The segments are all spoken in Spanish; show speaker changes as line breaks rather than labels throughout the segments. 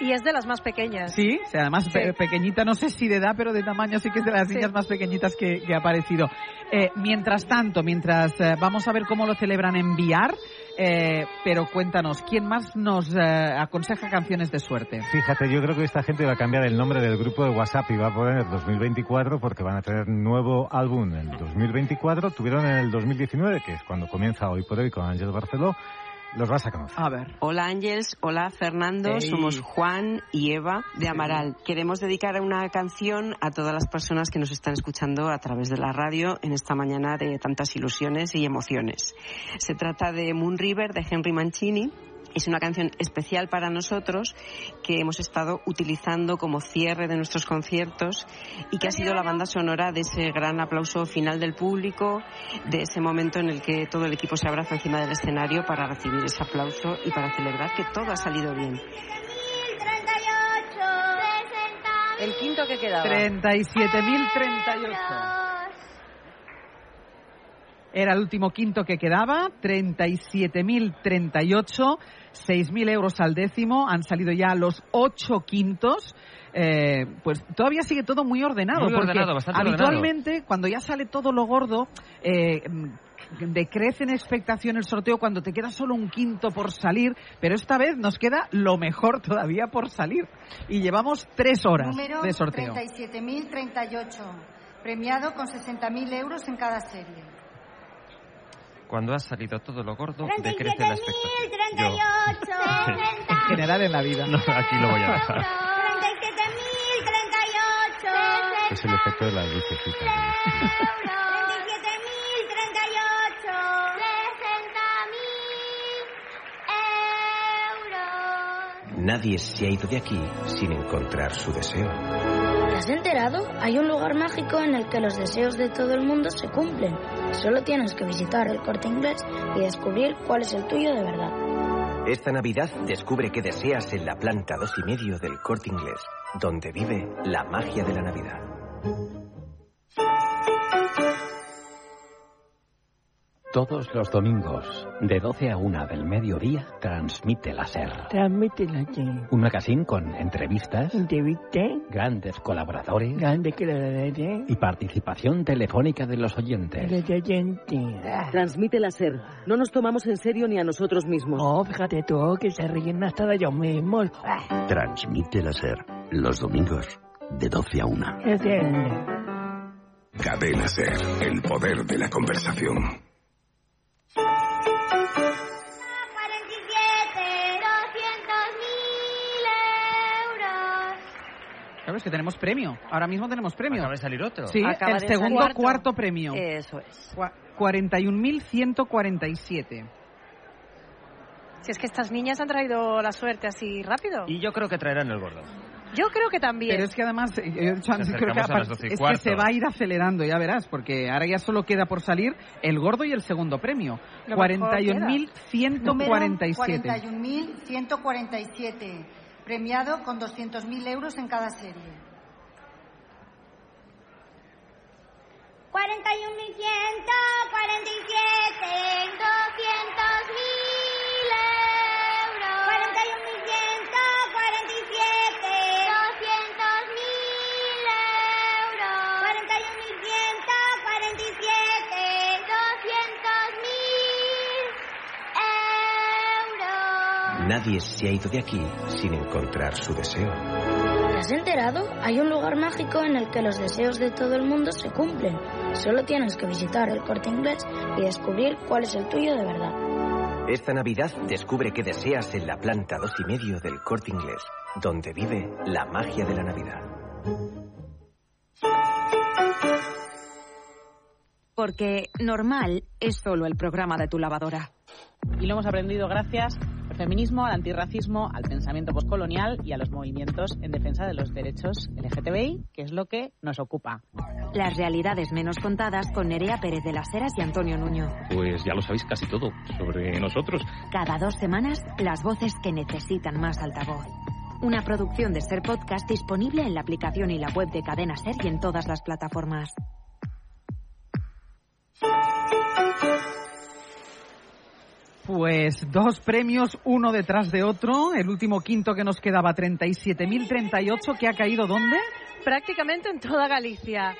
y es de las más pequeñas.
Sí, o sea, además
Sí.
pe- pequeñita, no sé si de edad, pero de tamaño sí que es de las
Sí.
niñas más pequeñitas que, que ha aparecido. Eh, mientras tanto, mientras eh, vamos a ver cómo lo celebran en VR, eh, pero cuéntanos, ¿quién más nos eh, aconseja canciones de suerte?
Fíjate, yo creo que esta gente va a cambiar el nombre del grupo de WhatsApp y va a poner 2024 porque van a tener nuevo álbum en el 2024. Tuvieron en el 2019, que es cuando comienza hoy por hoy con Ángel Barceló. Los vas a conocer.
A ver.
Hola Ángels, hola Fernando,
Ey.
somos Juan y Eva de Amaral. Queremos dedicar una canción a todas las personas que nos están escuchando a través de la radio en esta mañana de tantas ilusiones y emociones. Se trata de Moon River de Henry Mancini. Es una canción especial para nosotros que hemos estado utilizando como cierre de nuestros conciertos y que ha sido la banda sonora de ese gran aplauso final del público, de ese momento en el que todo el equipo se abraza encima del escenario para recibir ese aplauso y para celebrar que todo ha salido bien.
El quinto que quedaba.
37.038. Era el último quinto que quedaba, 37.038, 6.000 euros al décimo, han salido ya los ocho quintos. Eh, pues todavía sigue todo muy ordenado.
Muy
porque
ordenado, bastante
habitualmente, cuando ya sale todo lo gordo, eh, mm, decrece en expectación el sorteo cuando te queda solo un quinto por salir, pero esta vez nos queda lo mejor todavía por salir. Y llevamos tres horas
Número
de sorteo.
37.038, premiado con 60.000 euros en cada serie.
Cuando ha salido todo lo gordo, decrece la expectativa. Yo-
En general en la vida.
No, aquí lo voy a dejar.
Es el efecto de las lucecitas.
Nadie se ha ido de aquí sin encontrar su deseo.
¿Te has enterado? Hay un lugar mágico en el que los deseos de todo el mundo se cumplen. Solo tienes que visitar el corte inglés y descubrir cuál es el tuyo de verdad.
Esta Navidad descubre qué deseas en la planta dos y medio del Corte Inglés, donde vive la magia de la Navidad.
Todos los domingos, de 12 a 1 del mediodía, transmite la SER.
Transmite la que
Un magazine con entrevistas,
te viste,
grandes colaboradores
grande que la daré,
y participación telefónica de los oyentes.
de gente.
Transmite la SER. No nos tomamos en serio ni a nosotros mismos.
Oh, fíjate tú que se ríen hasta de ellos mismos. Ah,
Transmite la SER los domingos de 12 a 1.
es el-
Cadena Ser, el poder de la conversación.
Claro, es que tenemos premio. Ahora mismo tenemos premio.
Acaba de salir otro.
Sí,
Acaba
el
de
segundo
salir.
cuarto, premio.
Eso es.
Cua- 41.147.
Si es que estas niñas han traído la suerte así rápido.
Y yo creo que traerán el gordo.
Yo creo que también.
Pero es que además, eh, yo he dicho antes, creo
acercamos
que,
a
apar-
las doce y
es que
cuarto.
se va a ir acelerando, ya verás, porque ahora ya solo queda por salir el gordo y el segundo premio.
Lo mejor
41.147.
41.147, premiado con 200.000 euros en cada serie.
200.000
Nadie se ha ido de aquí sin encontrar su deseo.
¿Te has enterado? Hay un lugar mágico en el que los deseos de todo el mundo se cumplen. Solo tienes que visitar el corte inglés y descubrir cuál es el tuyo de verdad.
Esta Navidad descubre qué deseas en la planta dos y medio del Corte Inglés, donde vive la magia de la Navidad.
Porque normal es solo el programa de tu lavadora.
Y lo hemos aprendido gracias al feminismo, al antirracismo, al pensamiento postcolonial y a los movimientos en defensa de los derechos LGTBI, que es lo que nos ocupa.
Las realidades menos contadas con Nerea Pérez de las Heras y Antonio Nuño.
Pues ya lo sabéis casi todo sobre nosotros.
Cada dos semanas, las voces que necesitan más altavoz. Una producción de Ser Podcast disponible en la aplicación y la web de Cadena Ser y en todas las plataformas.
Pues dos premios, uno detrás de otro. El último quinto que nos quedaba, 37.038, que ha caído ¿dónde?
Prácticamente en toda Galicia.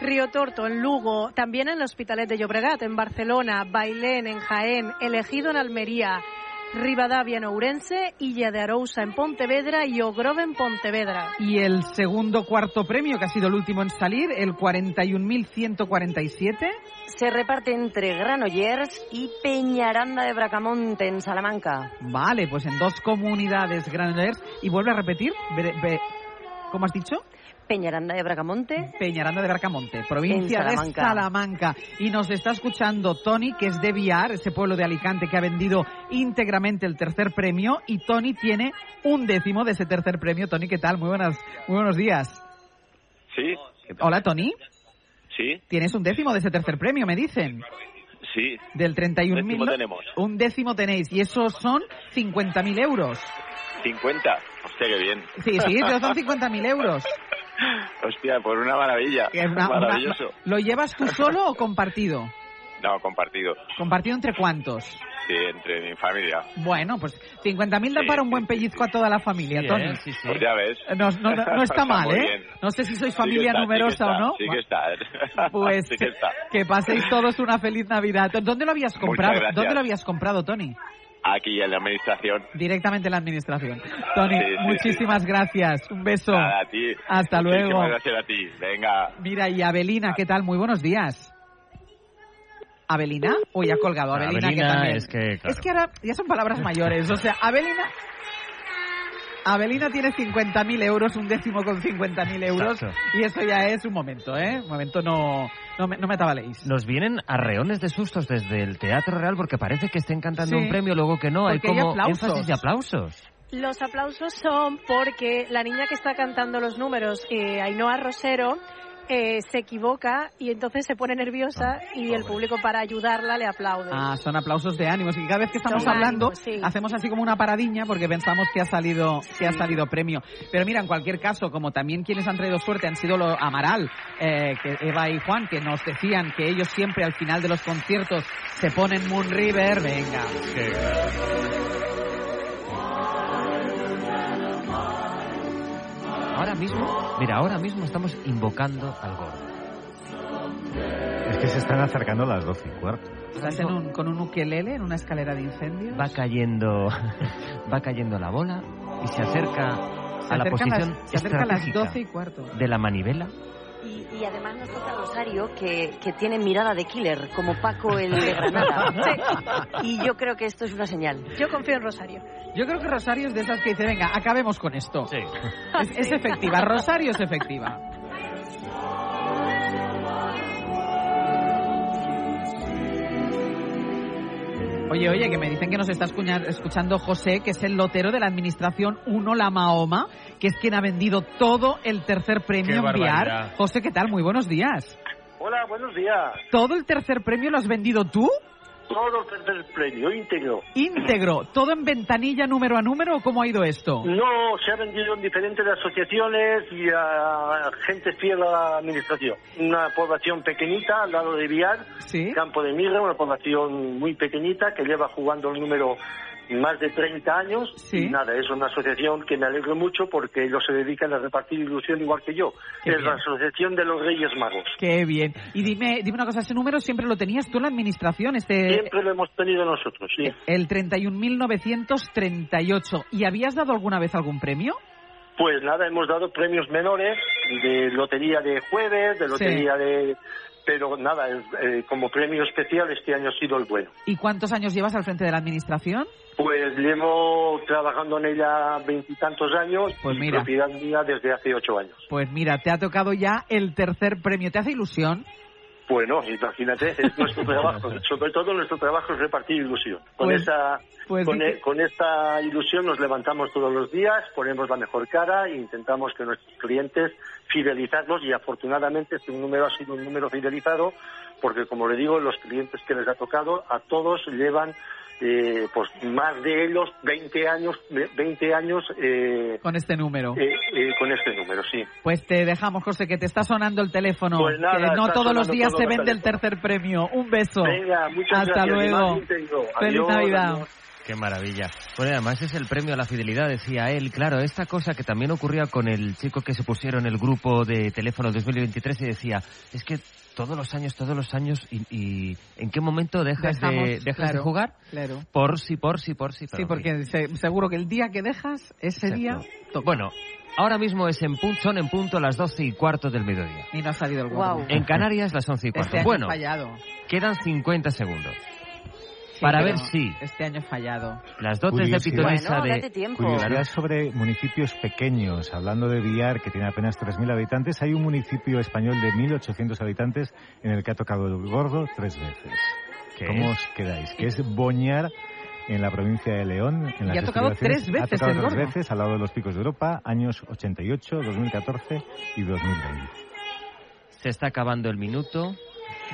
Río Torto, en Lugo, también en el Hospitalet de Llobregat, en Barcelona, Bailén, en Jaén, Elegido en Almería, Rivadavia en Ourense, Illa de Arousa en Pontevedra y Ogrove en Pontevedra.
Y el segundo cuarto premio, que ha sido el último en salir, el 41.147.
Se reparte entre Granollers y Peñaranda de Bracamonte en Salamanca.
Vale, pues en dos comunidades, Granollers. Y vuelve a repetir, be- be- ¿cómo has dicho?
Peñaranda de Bracamonte.
Peñaranda de Bracamonte, provincia
En Salamanca.
de Salamanca. Y nos está escuchando Tony, que es de Viar, ese pueblo de Alicante que ha vendido íntegramente el tercer premio. Y Tony tiene un décimo de ese tercer premio. Tony, ¿qué tal? Muy, buenas, muy buenos días.
Sí,
Hola, Tony.
sí,
Tienes un décimo de ese tercer premio, me dicen.
sí.
Del 31.000.
Décimo tenemos.
Un décimo tenéis. Y esos son 50.000 euros.
50. Hostia, qué bien.
Sí, sí, pero son 50.000 euros.
Hostia, por una maravilla.
Que es una- una-
Maravilloso.
¿Lo llevas tú solo o compartido?
No, compartido.
¿Compartido entre cuántos?
Sí, entre mi familia.
Bueno, pues 50.000 da para un buen pellizco a toda la familia, Tony.
Pues ya ves.
No, no- no- no está mal,
muy
¿eh?
bien.
No sé si sois
Sí que
familia
está, sí que
numerosa
está,
o no.
Sí que está.
Pues
sí que está.
que paséis todos una feliz Navidad. ¿Dónde lo habías comprado?
gracias.
¿Dónde lo habías comprado, Tony?
Aquí en la administración.
Directamente en la administración. Tony,
Sí, sí,
muchísimas gracias. Un beso.
Nada, a ti.
Hasta
Muchísimas
luego.
gracias a ti. Venga.
Mira, y Abelina, ¿qué tal? Muy buenos días. ¿Abelina? Uy, ha colgado. Abelina, que
Abelina,
también-
es que, claro.
Es que ahora ya son palabras mayores. O sea, Abelina... Abelina tiene 50.000 euros, un décimo con 50.000 euros.
Exacto.
Y eso ya es un momento, ¿eh? Un momento no, no, me, no me atabaléis.
Nos vienen arreones de sustos desde el Teatro Real porque parece que estén cantando
Sí.
un premio, luego que no. Hay
Porque hay
como
aplausos.
énfasis de aplausos.
Los aplausos son porque la niña que está cantando los números, eh, Ainhoa Rosero, eh, se equivoca y entonces se pone nerviosa y el público para ayudarla le aplaude.
Ah, son aplausos de ánimos. Y cada vez que estamos
Son
hablando,
ánimos, sí.
hacemos así como una paradiña porque pensamos que ha salido que ha salido premio. Pero mira, en cualquier caso, como también quienes han traído suerte han sido lo, Amaral, eh, que Eva y Juan, que nos decían que ellos siempre al final de los conciertos se ponen Moon River. Venga.
Ahora mismo, mira, ahora mismo estamos invocando al gordo.
Es que se están acercando las 12 y cuarto.
Estás en un- con un ukelele en una escalera de incendio.
Va cayendo, va cayendo la bola y se acerca
Se
a la
acercan
posición
las- se acerca a las
estratégica
12 y cuarto.
de la manivela.
Y, y además nos toca Rosario, que, que tiene mirada de killer, como Paco el de Granada. Y yo creo que esto es una señal.
Yo confío en Rosario.
Yo creo que Rosario es de esas que dice, venga, acabemos con esto. Es, es
Sí.
efectiva, Rosario es efectiva. Oye, oye, que me dicen que nos está escuña- escuchando José, que es el lotero de la Administración 1 La Mahoma, que es quien ha vendido todo el tercer
Qué
premio en
barbaridad.
VR. José, ¿qué tal? Muy buenos días.
Hola, buenos días.
¿Todo el tercer premio lo has vendido tú?
Todo el tercer premio íntegro.
Íntegro, todo en ventanilla, número a número, ¿o cómo ha ido esto?
No se ha vendido en diferentes asociaciones y a gente fiel a la administración. Una población pequeñita al lado de Viar, Campo de Mirra, una población muy pequeñita que lleva jugando el número más de 30 años. Y nada, es una asociación que me alegro mucho porque ellos se dedican a repartir ilusión igual que yo.
Qué
es la
bien.
Asociación de los Reyes Magos.
Qué bien. Y dime, dime una cosa, ese número siempre lo tenías tú en la administración, este
Siempre lo hemos tenido nosotros, sí.
el 31.938. ¿Y habías dado alguna vez algún premio?
Pues nada, hemos dado premios menores de lotería de jueves, de lotería de... Pero nada, eh, como premio especial este año ha sido el bueno.
¿Y cuántos años llevas al frente de la administración?
Pues llevo trabajando en ella veintitantos años
Pues
y
mira.
propiedad mía desde hace ocho años.
Pues mira, te ha tocado ya el tercer premio. ¿Te hace ilusión?
Pues no, imagínate, es nuestro trabajo. Sobre todo nuestro trabajo es repartir ilusión. Con
Pues-
esa...
pues
con,
dice-
e- con esta ilusión nos levantamos todos los días, ponemos la mejor cara e intentamos que nuestros clientes fidelizarlos y afortunadamente este número ha sido un número fidelizado porque como le digo, los clientes que les ha tocado a todos llevan eh, pues más de los 20 años, 20 años eh,
con este número.
eh, eh, con este número, sí.
Pues te dejamos, José, que te está sonando el teléfono.
Pues nada,
que no
está
todos los
sonando
días
todo
se
el
vende el
teléfono.
tercer premio. Un beso.
Venga, muchas
Hasta
gracias.
luego.
Igualmente, yo.
Feliz
Adiós,
Navidad.
adiós.
Qué maravilla. Bueno, además es el premio a la fidelidad, decía él. Claro, esta cosa que también ocurría con el chico que se pusieron el grupo de teléfono 2023 y decía, es que todos los años, todos los años, y, y ¿en qué momento dejas,
Dejamos,
de, dejas de
claro,
jugar?
claro.
Por si, por si, por si.
Sí, porque se- seguro que el día que dejas, ese día,
Bueno, ahora mismo es en punto, son en punto las 12 y cuarto del mediodía.
y no ha salido el
Guau.
gordo.
En Canarias, las 11 y cuarto.
Este año
Bueno.
he fallado.
Quedan 50 segundos.
Sí,
para
pero
ver si
Este año he fallado.
las dotes de
Curiosidad.
pitonisa
Bueno,
de...
date Curiosidad sobre municipios pequeños. Hablando de Villar, que tiene apenas 3.000 habitantes, hay un municipio español de 1.800 habitantes en el que ha tocado el gordo tres veces.
¿Qué
¿Cómo
es?
os quedáis? Que es Boñar, en la provincia de León. En
Y
las
ha tocado
estribaciones.
tres veces
Ha tocado
el
tres
gordo.
veces al lado de los picos de Europa, años 88, 2014 y 2020.
Se está acabando el minuto.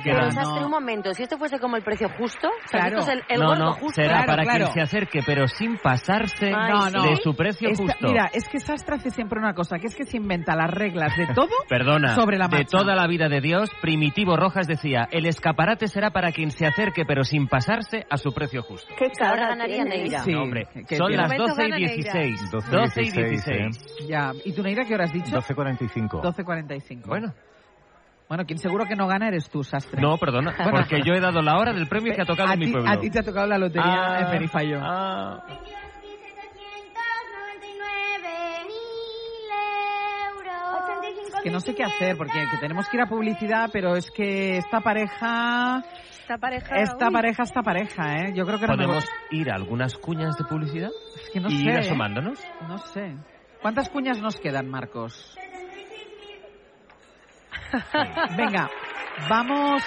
Pero,
Quedan-
Sastre, un momento, si esto fuese como el precio justo, o sea,
Claro.
esto es el, el
no,
gordo
no,
justo.
será para
claro.
quien se acerque, pero sin pasarse
Ay,
de
no, no.
su precio
Esta-
justo.
Mira, es que Sastra hace siempre una cosa, que es que se inventa las reglas de todo
Perdona,
sobre la
de
marcha.
toda la vida de Dios, Primitivo Rojas decía, el escaparate será para quien se acerque, pero sin pasarse a su precio justo.
¿Qué Ahora ganaría Neira.
Sí,
No, hombre,
que-
son
que-
las 12 y
de momento gana
16.
12
12 y ¿eh?
16,
16.
Ya, ¿y tú Neira qué hora has dicho?
12.45.
12.45.
Bueno.
Bueno, quien seguro que no gana eres tú, Sastre.
No, perdona,
Bueno.
porque yo he dado la hora del premio que ha tocado
a
en mi
ti-
pueblo.
A ti te ha tocado la lotería
Ah,
de Perifallo. Es que no sé qué hacer, porque que tenemos que ir a publicidad, pero es que esta pareja...
Esta pareja.
Esta
uy.
pareja, esta pareja, ¿eh? Yo creo que no me
¿Podemos ir a algunas cuñas de publicidad?
Es que no
y
sé,
ir
¿eh?
asomándonos.
No sé. ¿Cuántas cuñas nos quedan, Marcos? Venga, vamos.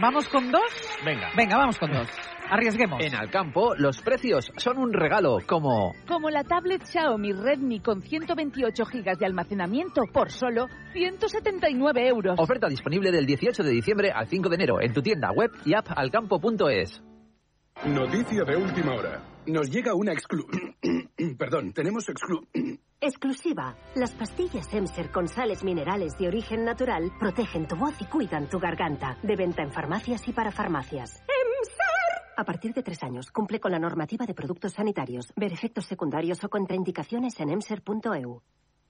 ¿Vamos con dos?
Venga.
Venga, vamos con dos. Arriesguemos.
En Alcampo, los precios son un regalo, como
Como la tablet Xiaomi Redmi con 128 GB de almacenamiento por solo 179 euros.
oferta disponible del 18 de diciembre al 5 de enero en tu tienda web y app alcampo.es.
Noticia de última hora. Nos llega una exclu... Perdón, tenemos exclu...
Exclusiva. Las pastillas Emser con sales minerales de origen natural protegen tu voz y cuidan tu garganta. De venta en farmacias y para farmacias. ¡Emser! A partir de tres años, cumple con la normativa de productos sanitarios. Ver efectos secundarios o contraindicaciones en emser.eu.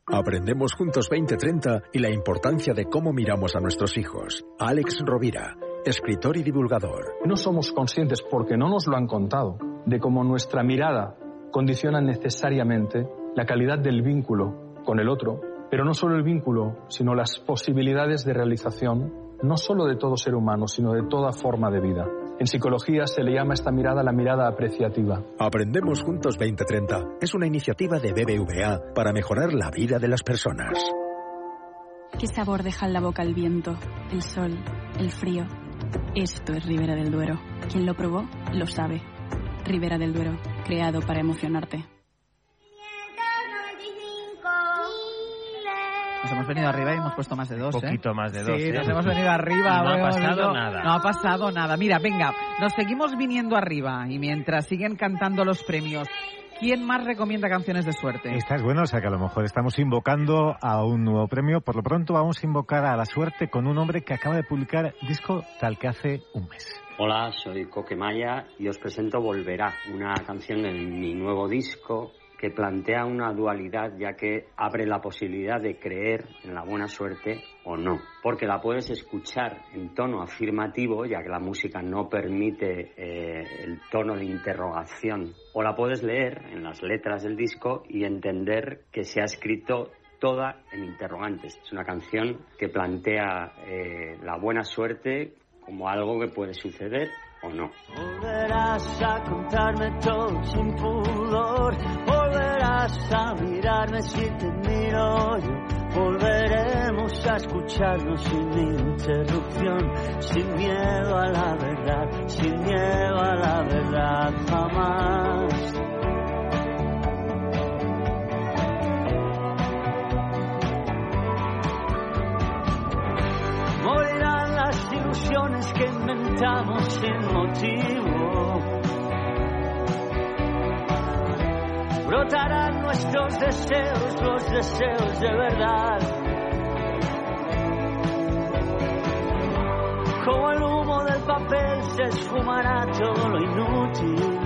Aprendemos juntos 2030 y la importancia de cómo miramos a nuestros hijos. Alex Rovira, escritor y divulgador.
No somos conscientes, porque no nos lo han contado, de cómo nuestra mirada condiciona necesariamente la calidad del vínculo con el otro, pero no solo el vínculo, sino las posibilidades de realización, no solo de todo ser humano, sino de toda forma de vida. En psicología se le llama a esta mirada la mirada apreciativa.
Aprendemos juntos 2030 es una iniciativa de BBVA para mejorar la vida de las personas.
¿Qué sabor deja en la boca el viento, el sol, el frío? Esto es Ribera del Duero. Quien lo probó, lo sabe. Ribera del Duero, creado para emocionarte.
Nos hemos venido arriba y hemos puesto más de dos.
Un poquito
¿eh?
más de dos,
Sí,
¿eh?
nos hemos venido arriba.
No ha
hemos
pasado
venido-
nada.
No ha pasado nada. Mira, venga, nos seguimos viniendo arriba y mientras siguen cantando los premios, ¿quién más recomienda canciones de suerte?
Esta es buena, o sea que a lo mejor estamos invocando a un nuevo premio. Por lo pronto vamos a invocar a la suerte con un hombre que acaba de publicar disco tal que hace un mes.
Hola, soy Coque Maya y os presento Volverá, una canción de mi nuevo disco que plantea una dualidad ya que abre la posibilidad de creer en la buena suerte o no, porque la puedes escuchar en tono afirmativo ya que la música no permite eh, el tono de interrogación, o la puedes leer en las letras del disco y entender que se ha escrito toda en interrogantes. Es una canción que plantea eh, la buena suerte como algo que puede suceder o no.
Volverás a contarme todo sin pudor, volverás a mirarme si te miro yo, volveremos a escucharnos sin interrupción, sin miedo a la verdad, sin miedo a la verdad jamás. Morirán las ilusiones que inventamos sin motivo. brotarán nuestros deseos, los deseos de verdad. Como el humo del papel se esfumará todo lo inútil.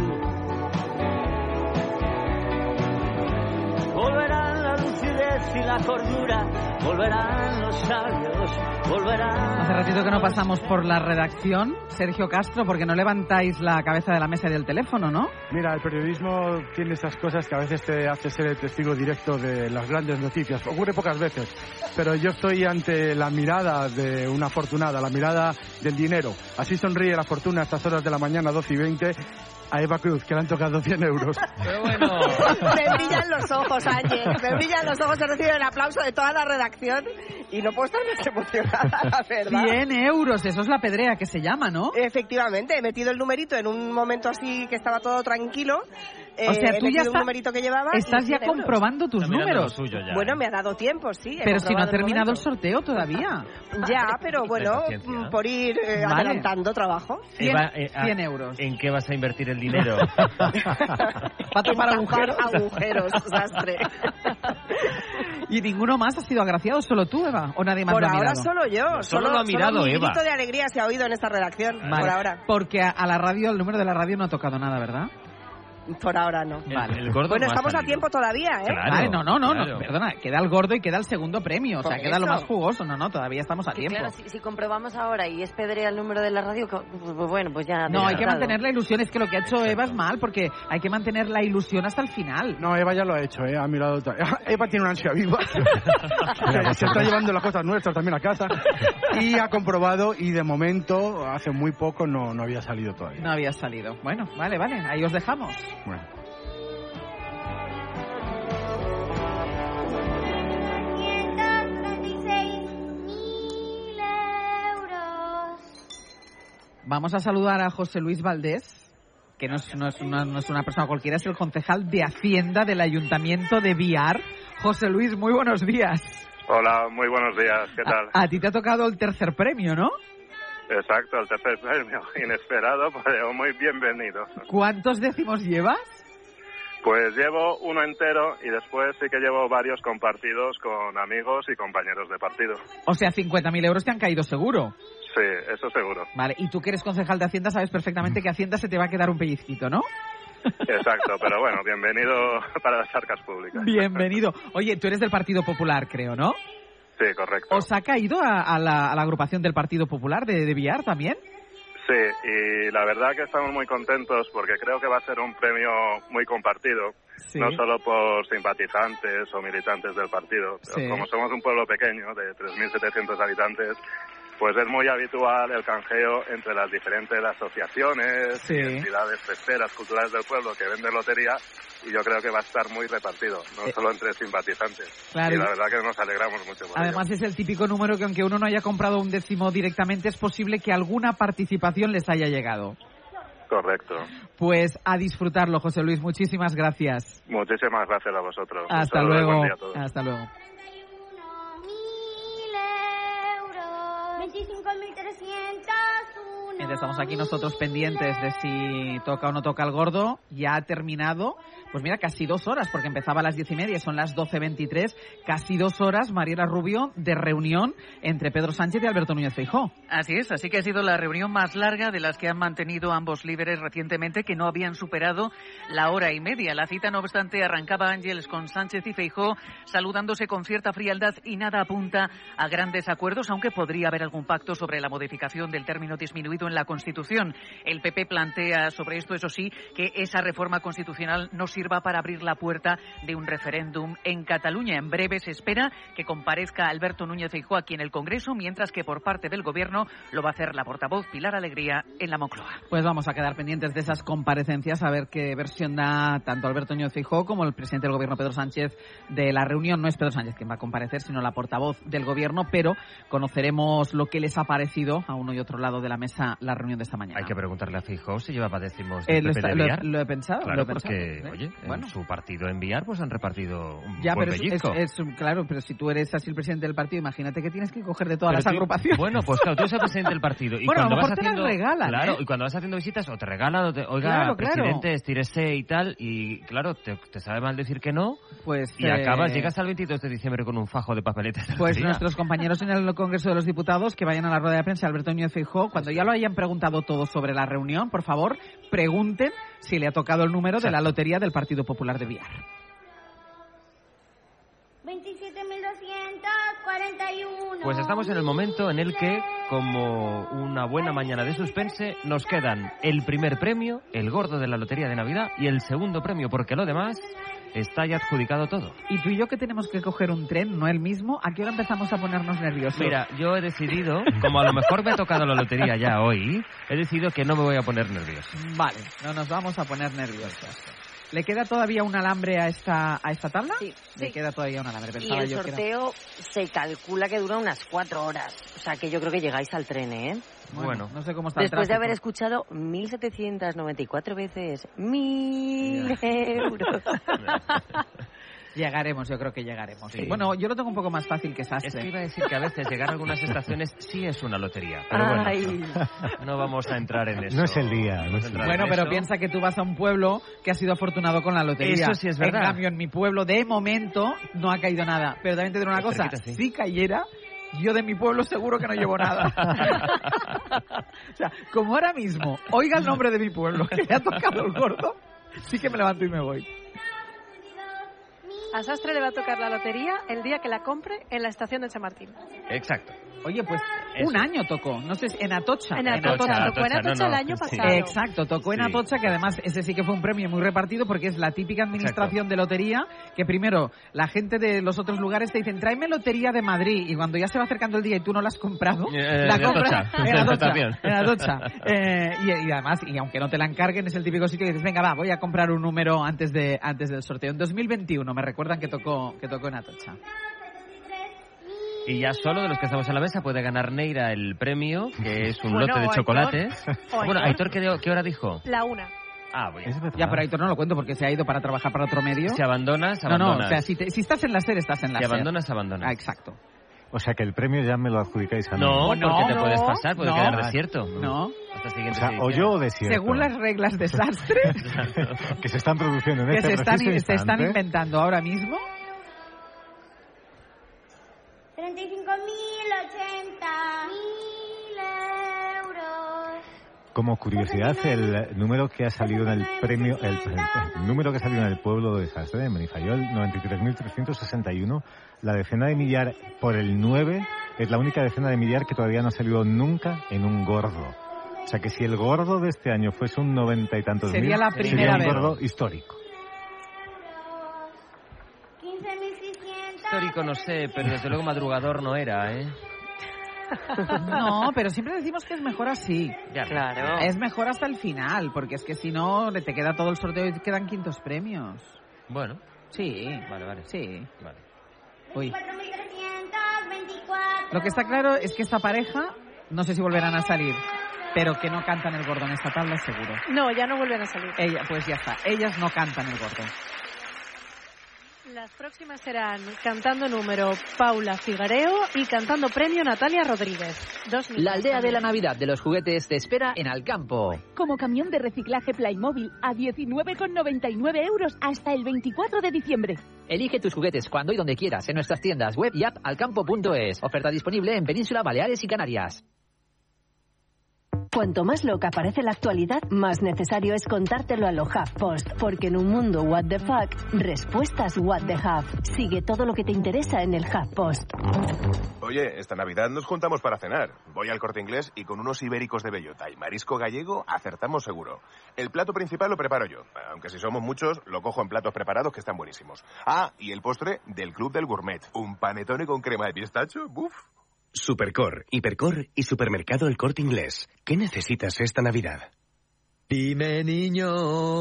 Volverán la lucidez y la cordura, volverán los sabios, volverán
Hace ratito que no pasamos por la redacción. Sergio Castro, porque no levantáis la cabeza de la mesa y del teléfono, ¿no?
Mira, el periodismo tiene esas cosas que a veces te hace ser el testigo directo de las grandes noticias. Ocurre pocas veces, pero yo estoy ante la mirada de una afortunada, la mirada del dinero. Así sonríe la fortuna a estas horas de la mañana, 12 y 20, a Eva Cruz, que le han tocado 100 euros.
Me brillan los ojos, Ángel. Me brillan los ojos. He recibido el aplauso de toda la redacción y no puedo estar más emocionada, la verdad.
100 euros, eso es la pedrea que se llama, ¿no?
Efectivamente, he metido el numerito en un momento así que estaba todo tranquilo. Eh,
O sea,
he
tú ya
metido
está-
un numerito que llevaba. y
estás ya
100 euros.
comprobando tus Está mirando números. lo suyo ya,
bueno,
¿eh?
me ha dado tiempo, sí. he
Pero si no ha
comprobado
terminado el
momento.
sorteo todavía.
Ya, pero bueno, mm, por ir eh,
Vale.
adelantando trabajo.
Eva, eh, ah,
100
¿En qué vas a invertir el dinero? Ah,
Pato para
Tapar
agujeros.
agujeros, sastre.
Y ninguno más ha sido agraciado, solo tú, Eva, o nadie más
Por
lo ha
ahora
mirado.
solo yo.
Solo lo ha mirado
mi
Eva.
grito de alegría se ha oído en esta redacción.
Vale,
Por ahora.
Porque a, a la radio, el número de la radio no ha tocado nada, ¿verdad?
Por ahora no.
Vale.
el gordo
bueno,
no ha
estamos a
salido.
tiempo todavía, ¿eh?
Vale, no, no, no, no,
claro.
perdona, queda el gordo y queda el segundo premio, o sea,
Por
queda lo
eso.
más jugoso, no, no, todavía estamos a
Que
tiempo.
claro, si, si comprobamos ahora y es pedrea el número de la radio, co- pues bueno, pues ya...
No, hay que
adelantado.
mantener la ilusión, es que lo que ha hecho Eva es mal, porque hay que mantener la ilusión hasta el final.
No, Eva ya lo ha hecho, ¿eh? ha mirado. otra- Eva tiene una ansia viva. se, se está llevando las cosas nuestras también a casa. Y ha comprobado, y de momento, hace muy poco no, no había salido todavía.
No había salido. Bueno, vale, vale, ahí os dejamos.
Bueno.
Vamos a saludar a José Luis Valdés, que no es, no es una, no es una persona cualquiera, es el concejal de Hacienda del Ayuntamiento de Viar. José Luis, muy buenos días.
Hola, muy buenos días, ¿qué tal?
A ti te ha tocado el tercer premio, ¿no?
Exacto, el tercer premio, inesperado, pero muy bienvenido.
¿Cuántos décimos llevas?
Pues llevo uno entero y después sí que llevo varios compartidos con amigos y compañeros de partido.
O sea, 50.000 euros te han caído seguro.
Sí, eso seguro.
Vale, y tú que eres concejal de Hacienda sabes
Mm.
perfectamente que Hacienda se te va a quedar un pellizquito, ¿no?
Exacto, pero bueno, bienvenido para las arcas públicas.
Bienvenido. Oye, tú eres del Partido Popular, creo, ¿no?
Sí, correcto.
¿Os ha caído a, a la, a la agrupación del Partido Popular de, de Villar también?
Sí, y la verdad que estamos muy contentos porque creo que va a ser un premio muy compartido,
Sí.
no solo por simpatizantes o militantes del partido. pero
Sí.
Como somos un pueblo pequeño de 3.700 habitantes, pues es muy habitual el canjeo entre las diferentes asociaciones
Sí.
y entidades pesqueras, culturales del pueblo que venden lotería y yo creo que va a estar muy repartido, no solo entre simpatizantes.
Eh. claro.
Y la verdad que nos alegramos mucho. Por ello.
Además es el típico número que aunque uno no haya comprado un décimo directamente es posible que alguna participación les haya llegado.
Correcto.
Pues a disfrutarlo, José Luis. Muchísimas gracias.
Muchísimas gracias a vosotros. Un
Hasta
saludo y buen
luego.
día a todos.
Hasta luego.
25.301.
Mientras Estamos aquí nosotros pendientes de si toca o no toca el gordo. Ya ha terminado, pues mira, casi dos horas, porque empezaba a las diez y media, son las doce veintitrés. Casi dos horas, Mariela Rubio, de reunión entre Pedro Sánchez y Alberto Núñez Feijóo.
Así es, así que ha sido la reunión más larga de las que han mantenido ambos líderes recientemente, que no habían superado la hora y media. La cita, no obstante, arrancaba Ángeles con Sánchez y Feijó, saludándose con cierta frialdad y nada apunta a grandes acuerdos, aunque podría haber algún pacto sobre la modificación del término disminuido en la Constitución. El PP plantea sobre esto, eso sí, que esa reforma constitucional no sirva para abrir la puerta de un referéndum en Cataluña. En breve se espera que comparezca Alberto Núñez Feijóo aquí en el Congreso, mientras que por parte del Gobierno lo va a hacer la portavoz Pilar Alegría en la Moncloa.
Pues vamos a quedar pendientes de esas comparecencias, a ver qué versión da tanto Alberto Núñez Feijóo como el presidente del gobierno Pedro Sánchez de la reunión. No es Pedro Sánchez quien va a comparecer, sino la portavoz del gobierno, pero conoceremos lo que les ha parecido a uno y otro lado de la mesa la reunión de esta mañana.
Hay que preguntarle a Fijó si lleva padecimos
Eh,
de
lo,
Pepe
está-
de
lo-
Villar.
lo he pensado.
Claro,
lo he
porque,
pensado, ¿eh?
oye,
Bueno.
en su partido en Villar pues han repartido un
Ya,
buen
pero es, es-
pellizco.
es- claro, pero si tú eres así el presidente del partido, imagínate que tienes que coger de todas
Pero
las
tú-
agrupaciones.
Bueno, pues claro, tú eres el presidente del partido. Y
Bueno, a lo
cuando
mejor
vas
te las
haciendo,
regalan,
Claro,
¿eh?
y cuando vas haciendo visitas o te regalan o te, oiga,
Claro, claro.
presidente, estírese y tal, y claro, te, te sabe mal decir que no,
pues
y
eh,
acabas, llegas al 22 de diciembre con un fajo de papeletas. de
Pues
lotería.
nuestros compañeros en el Congreso de los Diputados que vayan a la rueda de prensa, Alberto Núñez Feijóo, cuando ya lo hayan preguntado todo sobre la reunión, por favor, pregunten si le ha tocado el número de la lotería del Partido Popular de Villar.
27.241.
Pues estamos en el momento en el que, como una buena mañana de suspense, nos quedan el primer premio, el gordo de la Lotería de Navidad, y el segundo premio, porque lo demás está ya adjudicado todo.
Y tú y yo que tenemos que coger un tren, no el mismo, ¿a qué hora empezamos a ponernos nerviosos?
Mira, yo he decidido, como a lo mejor me ha tocado la lotería ya hoy, he decidido que no me voy a poner nervioso.
Vale, no nos vamos a poner nerviosos. ¿Le queda todavía un alambre a esta, a esta tabla? Sí, Le queda todavía un alambre.
Y
Pensaba
el
yo que era-
sorteo se calcula que dura unas cuatro horas. O sea que yo creo que llegáis al tren, ¿eh?
Bueno, no sé cómo está el
Después
tráfico.
de haber escuchado 1.794 veces mil euros.
Llegaremos, yo creo que llegaremos.
Sí.
Bueno, yo lo tengo un poco más fácil que Sastre.
Es que iba a decir que a veces llegar a algunas estaciones sí es una lotería. Pero bueno,
Ay.
no vamos a entrar en eso.
No es el día, no es el día.
Bueno, pero
eso.
piensa que tú vas a un pueblo que ha sido afortunado con la lotería.
Eso sí es verdad.
En cambio, en mi pueblo, de momento, no ha caído nada. Pero también te diré una
Pues
cosa, si cayera, yo de mi pueblo seguro que no llevo nada. o sea, como ahora mismo, oiga el nombre de mi pueblo, que le ha tocado el gordo, sí que me levanto y me voy.
A Sastre le va a tocar la lotería el día que la compre en la estación de Chamartín.
Exacto.
Oye, pues un año tocó, no sé, si- en Atocha.
En Atocha, Atocha, tocó en Atocha, Atocha no, no, el año sí. pasado.
Exacto, tocó en
Sí.
Atocha, que además ese sí que fue un premio muy repartido porque es la típica administración de lotería que primero la gente de los otros lugares te dicen, tráeme lotería de Madrid y cuando ya se va acercando el día y tú no la has comprado,
Eh,
la
de
compras
Atocha,
en
de
Atocha.
Atocha.
en Atocha. Eh, y, y además, y aunque no te la encarguen, es el típico sitio que dices, venga, va, voy a comprar un número antes de antes del sorteo. En 2021 me recuerdan que tocó, que tocó en Atocha.
Y ya solo de los que estamos a la mesa puede ganar Neira el premio, que es un
Bueno,
lote de
o Aitor.
chocolates.
O Aitor.
Bueno, Aitor, ¿qué, qué hora dijo?
La una.
Ah, voy.
Ya, pero Aitor no lo cuento porque se ha ido para trabajar para otro medio.
Si abandonas,
No, no, o
abandonas.
sea, si, te- si estás en la SER, estás en la
Si
SER.
abandonas, abandonas.
Ah, exacto.
O sea que el premio ya me lo adjudicáis a mí.
No, porque te
no,
puedes pasar, puede
no.
quedar desierto.
No.
Hasta
O
siguiente
sea, o yo o desierto.
Según las reglas de sastre
que se están produciendo en
que
este
se están,
preciso
se están
instante.
inventando ahora mismo,
35.080. Mil euros.
Como curiosidad, el número que ha salido en el premio, el, el número que ha salido en el pueblo de Sastre, de Manifayol, 93.361, la decena de millar por el 9 es la única decena de millar que todavía no ha salido nunca en un gordo. O sea que si el gordo de este año fuese un noventa y tantos
Sería
mil,
la primera
sería un
vez.
gordo histórico.
Histórico no sé, pero desde luego madrugador no era, ¿eh?
no, pero siempre decimos que es mejor así.
Claro.
Es mejor hasta el final, porque es que si no, le te queda todo el sorteo y te quedan quintos premios.
Bueno.
Sí.
Vale, vale.
Sí.
Vale.
Uy.
4.324.
Lo que está claro es que esta pareja, no sé si volverán a salir, pero que no cantan el gordo en esta tabla, seguro.
No, ya no vuelven a salir.
Ella, pues ya está, ellas no cantan el gordo.
Las próximas serán cantando número Paula Figareo y cantando premio Natalia Rodríguez. Dos niñas
La aldea de la
también.
Navidad de los juguetes te espera en Alcampo.
Como camión de reciclaje Playmobil a 19,99 euros hasta el 24 de diciembre.
Elige tus juguetes cuando y donde quieras en nuestras tiendas web y app alcampo.es. Oferta disponible en Península, Baleares y Canarias.
Cuanto más loca parece la actualidad, más necesario es contártelo a lo HuffPost, porque en un mundo what the fuck, respuestas what the huff. Sigue todo lo que te interesa en el HuffPost.
Oye, esta Navidad nos juntamos para cenar. Voy al corte inglés y con unos ibéricos de bellota y marisco gallego acertamos seguro. El plato principal lo preparo yo, aunque si somos muchos lo cojo en platos preparados que están buenísimos. Ah, y el postre del Club del Gourmet, un panetone con crema de pistacho, ¡buf!
Supercor, Hipercor y Supermercado El Corte Inglés. ¿Qué necesitas esta Navidad?
Dime niño,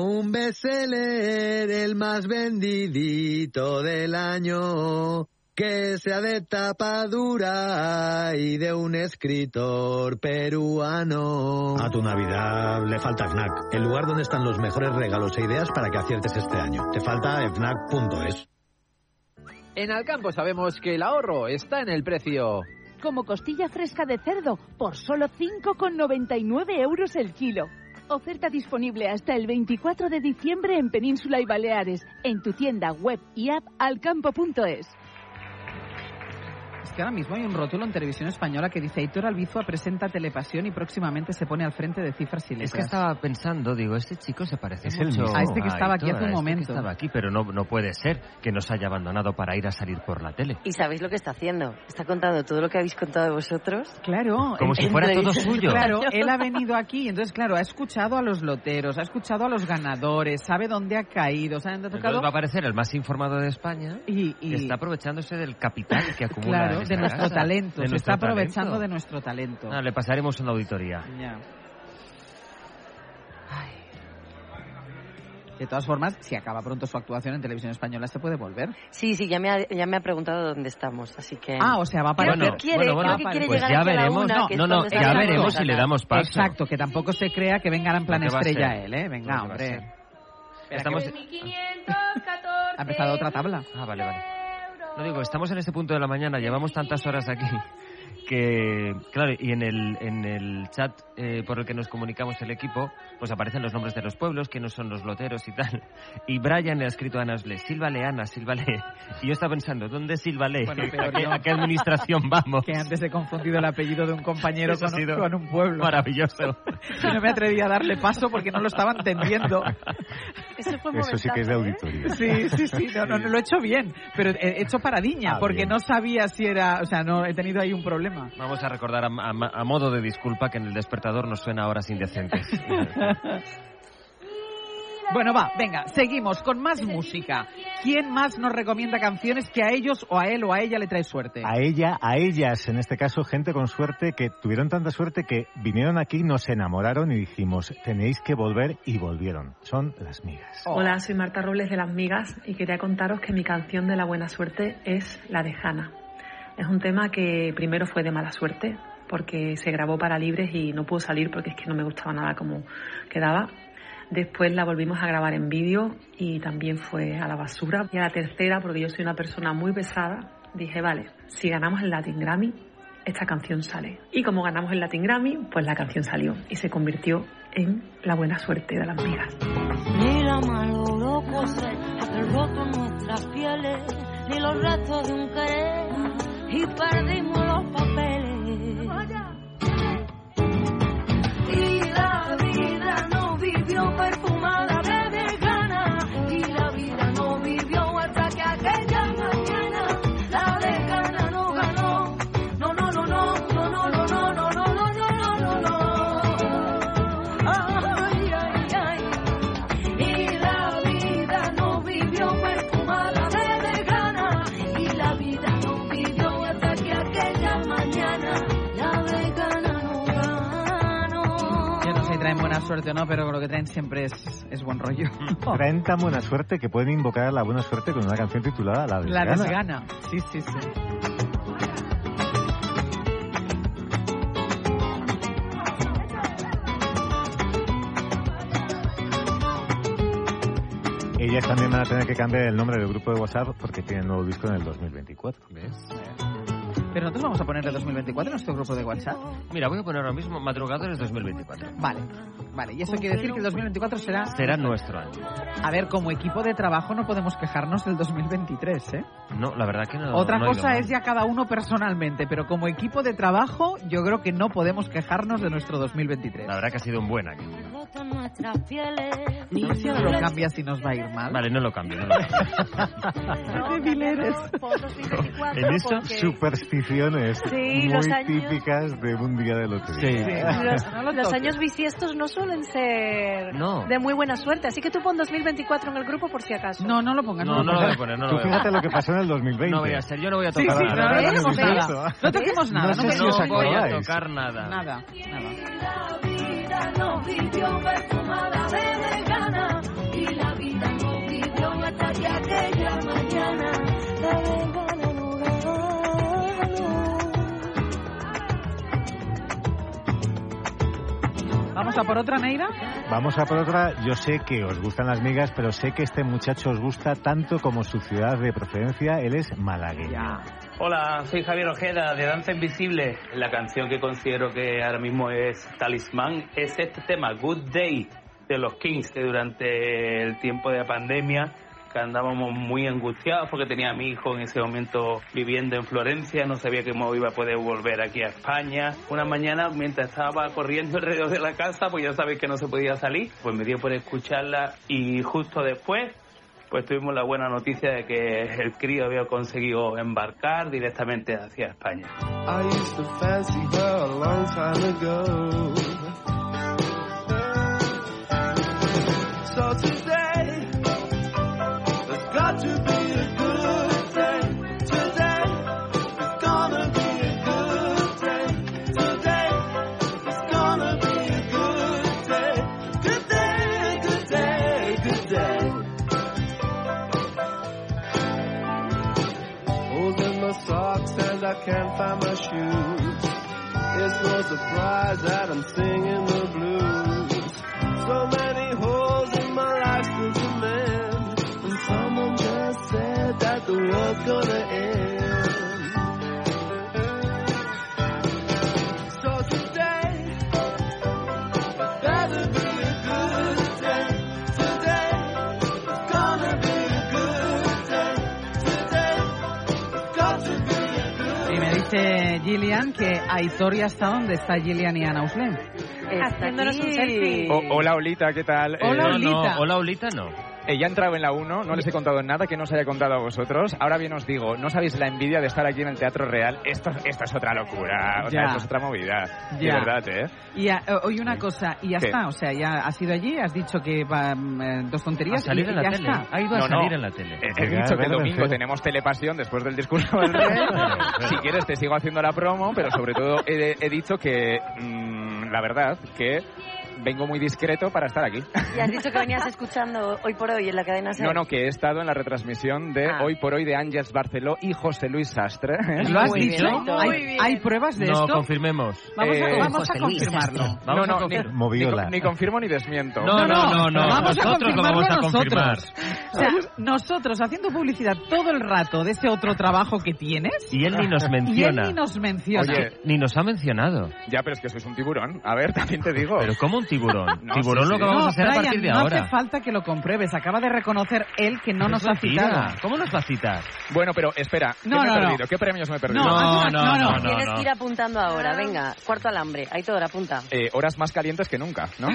un bestseller, el más vendidito del año. que sea de tapadura y de un escritor peruano.
A tu Navidad le falta FNAC, el lugar donde están los mejores regalos e ideas para que aciertes este año. Te falta FNAC.es.
En Alcampo sabemos que el ahorro está en el precio.
Como costilla fresca de cerdo por solo 5,99 euros el kilo. Oferta disponible hasta el 24 de diciembre en Península y Baleares, en tu tienda web y app alcampo.es.
Es que ahora mismo hay un rótulo en televisión española que dice Aitor Albizua presenta Telepasión y próximamente se pone al frente de cifras y letras.
Es que estaba pensando, digo, este chico se parece
Es el
mucho
mismo. A este que estaba aquí
Aitor,
hace un
a este que
momento.
estaba aquí, pero no, no puede ser que nos haya abandonado para ir a salir por la tele.
¿Y sabéis lo que está haciendo? Está contando todo lo que habéis contado de vosotros.
Claro.
Como si fuera todo suyo.
Claro, él ha venido aquí, entonces, claro, ha escuchado a los loteros, ha escuchado a los ganadores, sabe dónde ha caído, sabe dónde ha
Entonces
tocado.
va a aparecer el más informado de España
y,
que está aprovechándose del capital que acumula.
Claro,
esta
de nuestro
casa,
talento,
de
se
nuestro
está aprovechando
talento.
de nuestro talento.
Ah, le pasaremos una auditoría.
Ya. Ay. De todas formas, si acaba pronto su actuación en televisión española, se puede volver.
Sí, sí, ya me ha, ya me ha preguntado dónde estamos, así que...
Ah, o sea, va a aparecer.
Creo que quiere, creo que quiere
pues
llegar
ya
aquí a la
veremos.
una,
No,
que es
no, no,
cuando
ya
sale la
veremos
cosa.
si le damos paso.
Exacto, que tampoco se crea que venga en plan
Lo que va a
estrella
ser.
él, ¿eh? Venga,
Lo que va a
hombre.
ser.
Espera,
Estamos-
que-
Ha
Ha empezado otra tabla.
Ah, vale, vale. No digo, estamos en este punto de la mañana, llevamos tantas horas aquí que, claro, y en el, en el chat eh, por el que nos comunicamos el equipo, pues aparecen los nombres de los pueblos, quiénes son los loteros y tal. Y Brian le ha escrito a Ana Osle, sílvale Ana, sílvale. Y yo estaba pensando, ¿dónde sílvale?
Bueno,
¿A,
peor
qué,
no.
a qué administración vamos?
Que antes he confundido el apellido de un compañero
Eso ha
con, un-
sido
con un pueblo.
Maravilloso.
Y no me atreví a darle paso porque no lo estaba entendiendo.
Eso fue ¿eh?
Eso sí que es de auditoría.
Sí, sí, sí, no, no, no, lo he hecho bien, pero he hecho paradiña
Ah,
porque
bien.
no sabía si era, o sea, no he tenido ahí un problema.
Vamos a recordar a, a- a modo de disculpa que en el despertador nos suena horas indecentes.
Bueno, va, venga, seguimos con más música. ¿Quién más nos recomienda canciones que a ellos o a él o a ella le trae suerte?
A ella, a ellas, en este caso, gente con suerte que tuvieron tanta suerte que vinieron aquí, nos enamoraron y dijimos, tenéis que volver y volvieron. Son las migas.
Hola, soy Marta Robles de Las Migas y quería contaros que mi canción de la buena suerte es La de Jana. Es un tema que primero fue de mala suerte porque se grabó para libres y no pudo salir porque es que no me gustaba nada como quedaba. Después la volvimos a grabar en vídeo y también fue a la basura. Y a la tercera, porque yo soy una persona muy pesada, dije, vale, si ganamos el Latin Grammy, esta canción sale. Y como ganamos el Latin Grammy, pues la canción salió y se convirtió en La buena suerte de las migas.
Ni la malogró coser aquel roto en nuestras pieles, ni los restos de un querer, y perdimos los papeles. Y la vida no vivió perfumada de vegana, y la vida no vivió hasta que aquella mañana la vegana no ganó. No, no, no, no, no, no, no, no, no, no, no, no, no, no. Ay, ay, ay. Y la vida no vivió perfumada de vegana. Y la vida no vivió hasta que aquella mañana la vegana no ganó.
Yo no sé si traen buena suerte o no, pero lo que traen siempre es, es buen rollo.
Oh.
Traen tan buena suerte que pueden invocar la buena suerte con una canción titulada La
La
Desgana.
desgana. Sí, sí, sí.
Ellas también van a tener que cambiar el nombre del grupo de WhatsApp porque tienen nuevo disco en el 2024.
Pero nosotros vamos a ponerle 2024 en nuestro grupo de WhatsApp.
Mira, voy a poner ahora mismo Madrugadores 2024.
Vale, vale. Y eso quiere decir que el 2024 será...
Será nuestro año.
A ver, como equipo de trabajo no podemos quejarnos del 2023, ¿eh?
No, la verdad que no.
Otra
no ha ido
cosa
mal.
es ya cada uno personalmente, pero como equipo de trabajo yo creo que no podemos quejarnos de nuestro 2023.
La verdad que ha sido un buen año.
Roto en nuestras pieles.
No sé si lo cambia si nos va a ir mal.
Vale, no lo cambio. no lo cambio.
No,
Vileres.
En eso, supersticiones
Sí, los
muy
años-
típicas de un día de lotería.
Los, los años bisiestos no suelen ser
No.
de muy buena suerte, así que tú pon 2024 en el grupo por si acaso.
No, no lo pongas.
No, no lo voy a poner, no lo
Tú
voy a
fíjate
poner.
lo que pasó en el 2020.
No voy a ser, yo no voy a
Sí,
tocar
sí,
nada.
no,
Ahora
no
mismo
hemos
nada.
visto.
No toquemos nada,
No
no
sé si os
toquemos
voy a
nada.
tocar nada.
Nada, nada.
La vida no vivió perfumada de vegana. Y la vida no vivió hasta que aquella mañana la vegana no ganó.
¿Vamos a por otra, Neira?
Vamos a por otra. Yo sé que os gustan las migas, pero sé que este muchacho os gusta tanto como su ciudad de procedencia. Él es malagueño.
Hola, soy Javier Ojeda de Danza Invisible. La canción que considero que ahora mismo es talismán es este tema, Good Day, de los Kings, que durante el tiempo de la pandemia que andábamos muy angustiados porque tenía a mi hijo en ese momento viviendo en Florencia, no sabía cómo iba a poder volver aquí a España. Una mañana, mientras estaba corriendo alrededor de la casa, pues ya sabéis que no se podía salir, pues me dio por escucharla y justo después pues tuvimos la buena noticia de que el crío había conseguido embarcar directamente hacia España.
I used to fancy her a long time ago. So today, there's got to be a good day. Today, it's gonna be a good day. Today, it's gonna be a good day. Good day, good day, good day. Holding my socks and I can't find my shoes. It's no surprise that I'm singing the blues. So many holes in my life still to mend. And someone just said that the world's gonna end. So today, it better be a good day. Today, it's gonna be a good day. Today, it's got to be a good
Y me dice Gillian que Aitor ya está donde está Gillian y Ana Uslén.
Haciéndonos un
selfie.
O- hola, Olita, ¿qué tal? Eh,
Hola,
no,
Olita.
No,
hola, Olita, no.
Ella ha entrado en la 1, no les he contado nada que no os haya contado a vosotros. Ahora bien os digo, no sabéis la envidia de estar aquí en el Teatro Real. Esto, esto es otra locura, o sea,
Ya.
esto es otra movida. De
Ya.
verdad, ¿eh?
Y a- o- oye una cosa, y ya
¿Qué?
está, o sea, ya has ido allí, has dicho que va mm, eh, dos tonterías
Ha salido
y
en la
ya
tele,
está.
ha ido a No, no. salir en la
tele.
He, he dicho que el domingo tenemos telepasión después del discurso del rey. si quieres te sigo haciendo la promo, pero sobre todo he, he dicho que, mm, la verdad, que vengo muy discreto para estar aquí.
Y has dicho que venías escuchando hoy por hoy en la cadena SER.
No, no, que he estado en la retransmisión de
Ah.
Hoy por Hoy de Ángels Barceló y José Luis Sastre.
¿Lo has dicho? ¿Eh? ¿Hay, hay pruebas de
No,
esto?
confirmemos.
Vamos a,
Eh,
vamos a
José Luis
confirmarlo.
Sastre. Vamos a confirmar.
Moviola.
Ni confirmo ni desmiento.
No, no, no, no. Vamos a
Nosotros lo vamos a
confirmarlo
confirmar.
nosotros. O sea, nosotros haciendo publicidad todo el rato de ese otro trabajo que tienes.
Y él ni nos
Y él
menciona.
ni nos menciona.
Oye,
Ni nos ha mencionado.
Ya, pero es que sois un tiburón. A ver, también te digo. Pero
¿cómo un tiburón? Tiburón lo que
no,
vamos a hacer a
Brian,
partir de
no
ahora.
hace falta que lo compruebes. Acaba de reconocer él que no nos ha citado.
¿Cómo nos va a citar?
Bueno, pero espera. ¿Qué
No,
me
no,
he
no.
perdido? ¿Qué premios me he perdido?
No,
Tienes que ir apuntando ahora, venga. Cuarto alambre, ahí todo apunta.
Eh, horas más calientes que nunca, ¿no?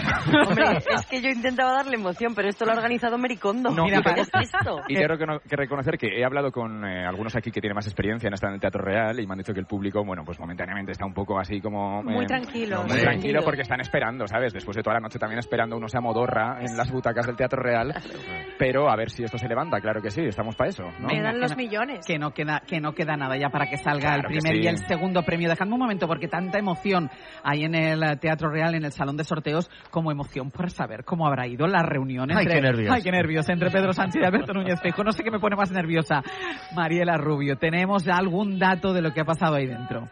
Hombre, es que yo intentaba darle emoción, pero esto lo ha organizado Mericondo.
No,
Mira,
mira,
¿qué es esto?
Y tengo que no- que reconocer que he hablado con eh, algunos aquí que tienen más experiencia en estar en el Teatro Real y me han dicho que el público, bueno, pues momentáneamente está un poco así como...
Muy
eh,
tranquilo.
Muy
Muy tranquilo.
tranquilo porque están esperando, ¿sabes? Después de toda la noche también esperando, uno se amodorra en las butacas del Teatro Real. Pero a ver si esto se levanta, claro que sí, estamos para eso, ¿no?
Venga, que no-
millones.
Que no queda, que no queda nada ya para que salga
Claro
el
que
primer
sí.
y el segundo premio. Dejadme un momento, porque tanta emoción hay en el eh, Teatro Real, en el Salón de Sorteos, como emoción por saber cómo habrá ido la reunión
Ay,
entre,
qué nervios.
Ay, qué nervios, entre Pedro Sánchez y Alberto Núñez Feijóo. No sé qué me pone más nerviosa. Mariela Rubio, ¿tenemos ya algún dato de lo que ha pasado ahí dentro?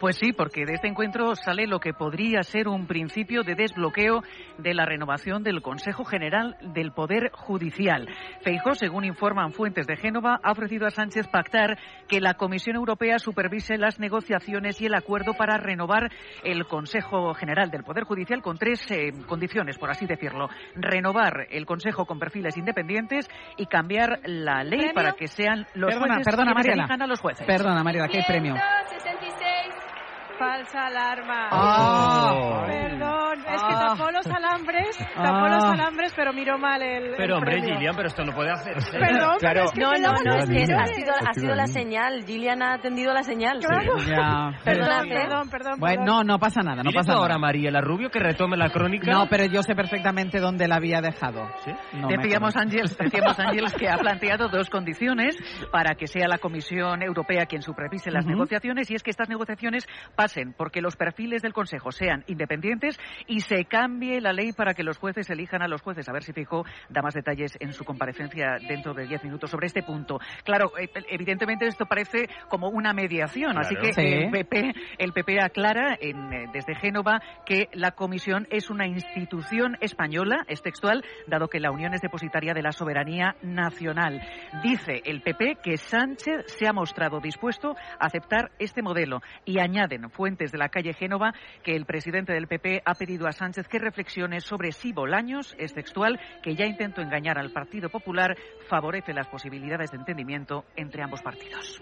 Pues sí, porque de este encuentro sale lo que podría ser un principio de desbloqueo de la renovación del Consejo General del Poder Judicial. Feijó, según informan fuentes de Génova, ha ofrecido a Sánchez pactar que la Comisión Europea supervise las negociaciones y el acuerdo para renovar el Consejo General del Poder Judicial con tres eh, condiciones, por así decirlo. Renovar el Consejo con perfiles independientes y cambiar la ley
¿Premio?
para que sean los
Perdona,
jueces
perdona,
quienes
Mariela.
elijan a los jueces.
Perdona, Mariela, ¿qué hay premio?
66. Falsa alarma.
Ah.
Perdón, es que
Ah.
tapó los alambres, tapó
Ah.
los alambres, pero miró mal el.
Pero
el
hombre,
premio.
Gillian, pero esto no puede hacer.
Perdón, pero Claro. es que
No,
me
no,
daban
no,
las
es que ha
señales.
sido, ha sido la señal. Gillian ha atendido la señal.
Claro.
Ya.
Perdona,
Perdón, perdón, perdón.
Bueno,
perdón.
no, no pasa nada, no
Dile
pasa
tú
nada.
ahora a Mariela Rubio que retome la crónica.
No, pero yo sé perfectamente dónde la había dejado. No me
decíamos
acuerdo.
Ángel, decíamos Ángel que ha planteado dos condiciones para que sea la Comisión Europea quien supervise las
Ujú.
negociaciones y es que estas negociaciones pasen porque los perfiles del Consejo sean independientes y se se cambie la ley para que los jueces elijan a los jueces. A ver si Feijóo da más detalles en su comparecencia dentro de 10 minutos sobre este punto. Claro, eh, evidentemente esto parece como una mediación, así
Claro.
que
Sí.
el, PP, el PP aclara en, eh, desde Génova que la comisión es una institución española, es textual, dado que la Unión es depositaria de la soberanía nacional. Dice el PP que Sánchez se ha mostrado dispuesto a aceptar este modelo y añaden fuentes de la calle Génova que el presidente del PP ha pedido a Sánchez que reflexione sobre si Bolaños, es textual, que ya intentó engañar al Partido Popular, favorece las posibilidades de entendimiento entre ambos partidos.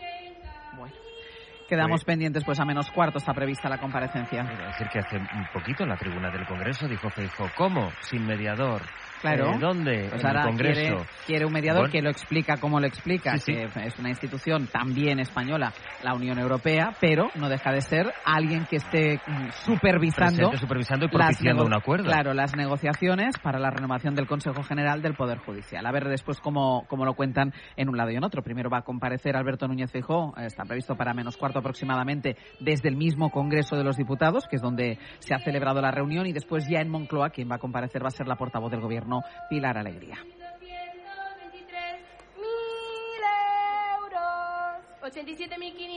Quedamos pendientes, pues a menos cuarto está prevista la comparecencia.
Quiero decir que hace un poquito en la tribuna del Congreso dijo Feijóo, ¿cómo? Sin mediador.
Claro.
¿Eh, ¿Dónde?
Pues
en el
ahora
Congreso.
Quiere, quiere un mediador
Bueno.
que lo explica como lo explica,
Sí, sí.
que es una institución también española, la Unión Europea, pero no deja de ser alguien que esté mm, supervisando,
Presente, supervisando y
las
propiciando
nego-
un acuerdo.
Claro, las negociaciones para la renovación del Consejo General del Poder Judicial. A ver después cómo, cómo lo cuentan en un lado y en otro. Primero va a comparecer Alberto Núñez Feijóo, eh, está previsto para menos cuarto aproximadamente, desde el mismo Congreso de los Diputados, que es donde se ha celebrado la reunión, y después ya en Moncloa quien va a comparecer va a ser la portavoz del Gobierno, Pilar Alegría.
87.517.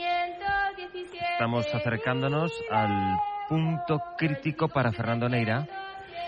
Estamos acercándonos al punto crítico para Fernando Neira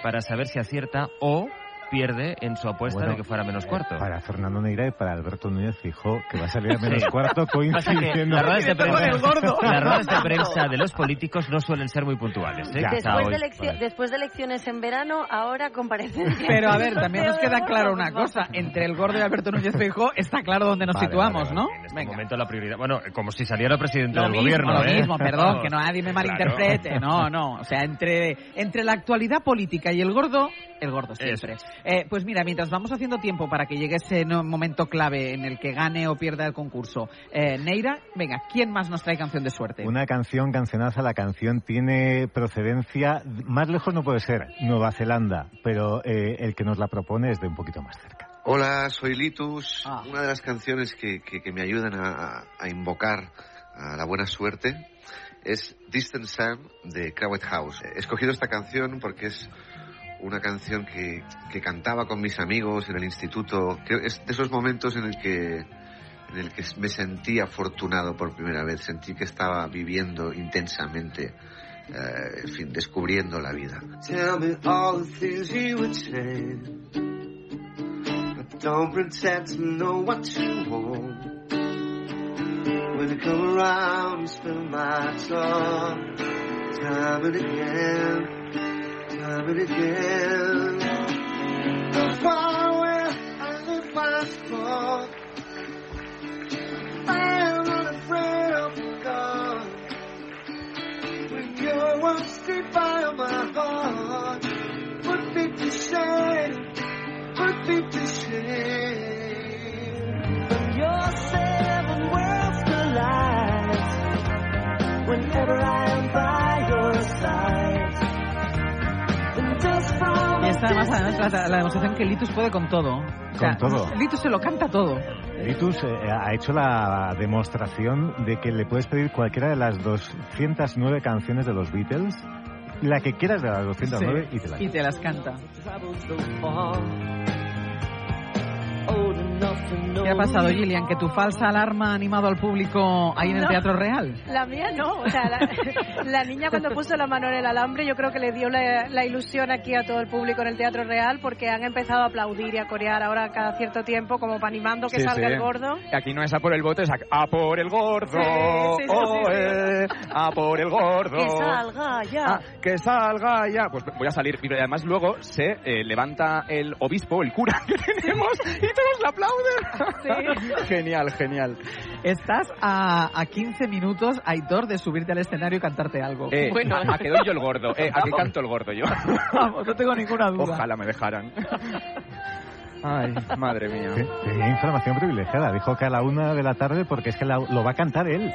para saber si acierta o pierde en su apuesta
Bueno,
de que fuera menos
eh,
cuarto.
Para Fernando Neira y para Alberto Núñez Fijó, que va a salir a menos
Sí.
cuarto
Pasa que
coincidiendo.
las ruedas de prensa- las ruedas de prensa de los políticos no suelen ser muy puntuales. ¿eh? Quizá
Después
hoy-
de, eleccio- después de elecciones en verano, ahora comparecencia.
Pero a ver, también nos queda claro una
Pues
cosa. Entre el gordo y Alberto Núñez Feijóo está claro dónde nos
Vale,
situamos,
vale,
¿no?
En este momento la prioridad. Bueno, como si saliera presidente
Lo
del
mismo,
gobierno.
lo
¿eh?
mismo, perdón, que no nadie me
Claro.
malinterprete. No, no. O sea, entre, entre la actualidad política y el gordo, el gordo siempre. Eh, pues mira, mientras vamos haciendo tiempo para que llegue ese no- momento clave en el que gane o pierda el concurso, eh, Neira, venga, ¿quién más nos trae canción de suerte?
Una canción, cancionaza, la canción tiene procedencia, más lejos no puede ser, Nueva Zelanda, pero eh, el que nos la propone es de un poquito más cerca.
Hola, soy Litus.
Ah.
Una de las canciones que, que- que me ayudan a, a invocar a la buena suerte es Distant Sun de Crowded House. He escogido esta canción porque es una canción que, que cantaba con mis amigos en el instituto. Creo que es de esos momentos en el que en el que me sentí afortunado por primera vez. Sentí que estaba viviendo intensamente, eh, en fin, descubriendo la vida.
Tell me all the things you would change. But don't pretend to know what you want. When you come around, you spill my tongue. Time and again, time and again. The far away, I live my spot. I am unafraid of God. When your words defile my heart, put me to shame, put me to shame. Your seven worlds collide whenever I am by your side. And just from
Y esta además, además, la, la demostración que Litus puede con todo. O sea,
Con todo.
Litus se lo canta todo.
Litus eh, ha hecho la demostración de que le puedes pedir cualquiera de las 209 canciones de los Beatles, la que quieras de las 209 y te la
Y te las canta. ¿Qué ha pasado, Gillian? ¿Que tu falsa alarma ha animado al público ahí en el
No.
Teatro Real?
La mía no, o sea, la, la niña cuando puso la mano en el alambre yo creo que le dio la, la ilusión aquí a todo el público en el Teatro Real porque han empezado a aplaudir y a corear ahora cada cierto tiempo como para animando que
Sí,
salga
sí.
el gordo.
Que Aquí no es a por el voto, es a, a por el gordo.
Sí, sí, sí, sí,
oh,
sí.
eh, a por el gordo.
Que salga ya.
Ah, que salga ya. Pues voy a salir. Y además luego se eh, levanta el obispo, el cura que tenemos, y todos le aplauden. genial, genial.
Estás a, a 15 minutos, Aitor, de subirte al escenario y cantarte algo.
Eh, a, a que doy yo el gordo. Eh, a que canto el gordo yo.
Vamos, no tengo ninguna duda.
Ojalá me dejaran. Ay, madre mía.
Tenía información privilegiada. Dijo que a la una de la tarde porque es que la- lo va a cantar él.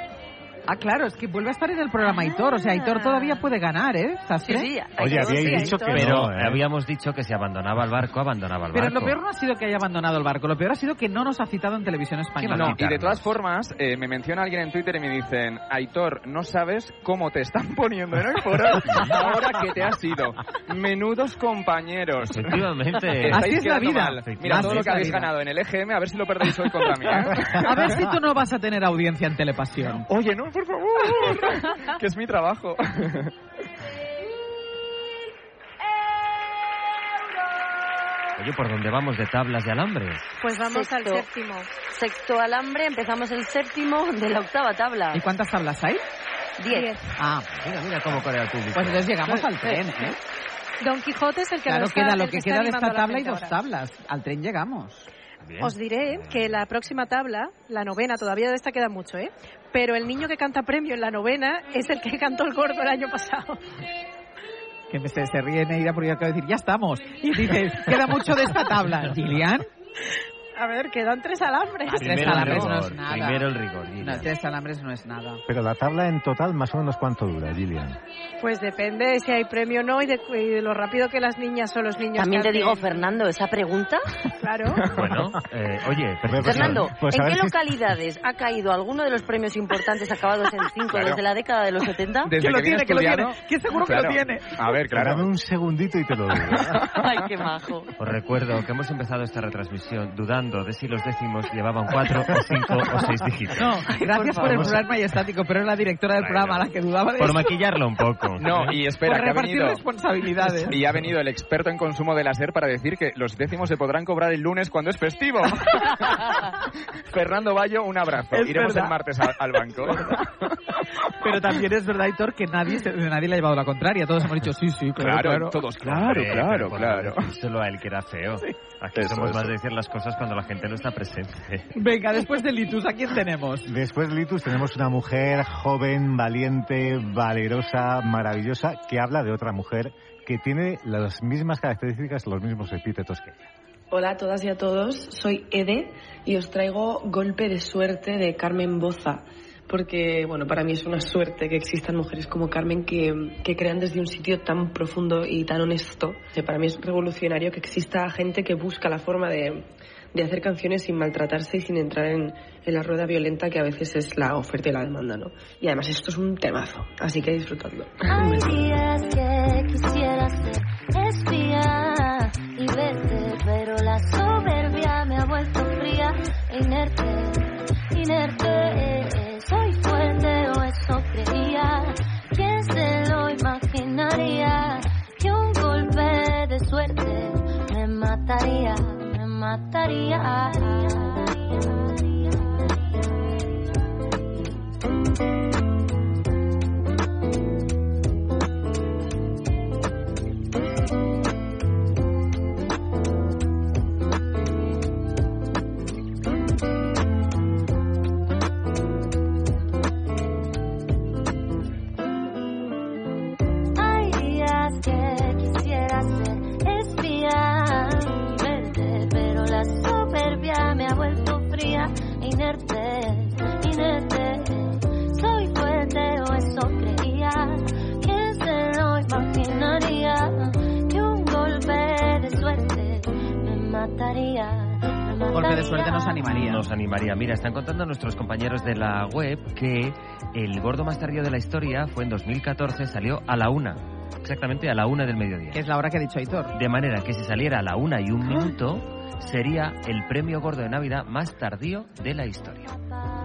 Ah, claro, es que vuelve a estar en el
Ah.
programa Aitor. O sea, Aitor todavía puede ganar, ¿eh? ¿Sastre?
Oye, habíais dicho que
Pero,
no, eh, habíamos dicho que si abandonaba el barco, abandonaba el
pero
barco.
lo peor no ha sido que haya abandonado el barco. Lo peor ha sido que no nos ha citado en televisión española.
No, y de todas formas, eh, me menciona alguien en Twitter y me dicen, Aitor, no sabes cómo te están poniendo en el foro ahora que te has ido. Menudos compañeros.
Efectivamente.
Así
Estáis
es la
quedando
vida.
mal. Mira
Así
todo lo
es
que
la
habéis
vida.
ganado en el EGM, a ver si lo perdéis hoy contra mí. ¿eh?
A ver si tú no vas a tener audiencia en Telepasión.
Oye, no, por favor, que es mi trabajo.
Oye, ¿por dónde vamos de tablas de alambres?
Pues vamos al
Sexto.
séptimo.
Sexto alambre, empezamos el séptimo de la octava tabla.
¿Y cuántas tablas hay?
Diez.
Ah,
mira, mira cómo corre el público.
Pues entonces llegamos al tren, ¿eh?
Don Quijote es el que
Claro,
nos está-
queda
el
lo
que
que
está
queda de
animando a
esta
la
tabla y
gente
dos
ahora.
tablas. Al tren llegamos.
Os diré que la próxima tabla, la novena, todavía de esta queda mucho, ¿eh? Pero el niño que canta premio en la novena es el que cantó el gordo el año pasado.
Que me- se, se ríe Neira porque yo acabo de decir, ya estamos. Y dices, queda mucho de esta tabla. Gillian,
A ver, quedan tres alambres.
Ah, tres alambres no es
rigor,
nada.
primero el rigor, Gillian.
No, tres alambres no es nada.
Pero la tabla en total, más o menos, ¿cuánto dura, Gillian?
Pues depende de si hay premio o no y de, y de lo rápido que las niñas o los niños
También te
canten.
digo, Fernando, esa pregunta.
Claro.
Bueno, eh, oye, pero-
Fernando,
pues a
¿en
ver
qué
si-
localidades ha caído alguno de los premios importantes acabados en cinco
Claro.
desde la década de los 70?
Desde que, viene estudiado- Claro. A ver, claro.
Dame un segundito y te lo digo.
Ay, qué majo.
Os recuerdo que hemos empezado esta retransmisión dudando de si los décimos llevaban cuatro o cinco o seis dígitos.
No, gracias por, el
favor.
plural majestático, pero era la directora del programa la que dudaba de
Por
eso.
maquillarlo un poco.
No, y espera, que
Por
ha
repartir
venido.
responsabilidades.
Y ha venido el experto en consumo de la SER para decir que los décimos se podrán cobrar el lunes cuando es festivo. Fernando Bayo, un abrazo.
Es
Iremos
verdad.
el martes al, al banco.
Pero también es verdad, Hitor, que nadie, se- nadie le ha llevado la contraria. Todos hemos dicho, sí, sí, claro,
Claro,
claro.
todos,
claro,
Hombre,
claro,
pero por
claro.
favor, Solo a él que era feo. Aquí
Eso,
somos más
eso.
de decir las cosas cuando la gente no está presente.
Venga, después de Litus, ¿a quién tenemos?
Después, Litus, tenemos una mujer joven, valiente, valerosa, maravillosa, que habla de otra mujer que tiene las mismas características, los mismos epítetos que ella.
Hola a todas y a todos, soy Ede y os traigo Golpe de Suerte de Carmen Boza, porque bueno, para mí es una suerte que existan mujeres como Carmen que, que crean desde un sitio tan profundo y tan honesto. Que para mí es revolucionario que exista gente que busca la forma de, de hacer canciones sin maltratarse y sin entrar en, en la rueda violenta que a veces es la oferta y la demanda, ¿no? Y además esto es un temazo, así que disfrutadlo.
Hay días que quisiera ser espía y verte, pero la soberbia me ha vuelto fría e inerte, inerte. Soy fuerte o eso creía. ¿Quién se lo imaginaría? Que un golpe de suerte me mataría, me mataría. Hay días que quisiera ser espía y verte, pero la soberbia me ha vuelto fría e inerte, inerte. Soy fuerte o eso creía, que se lo imaginaría, que un golpe de suerte me mataría, me mataría.
golpe de suerte nos animaría.
Nos animaría. Mira, están contando nuestros compañeros de la web que el gordo más tardío de la historia fue en 2014, salió a la una. Exactamente a la una del mediodía.
Que es la hora que ha dicho Aitor.
De manera que si saliera a la una y un minuto, sería el premio gordo de Navidad más tardío de la historia.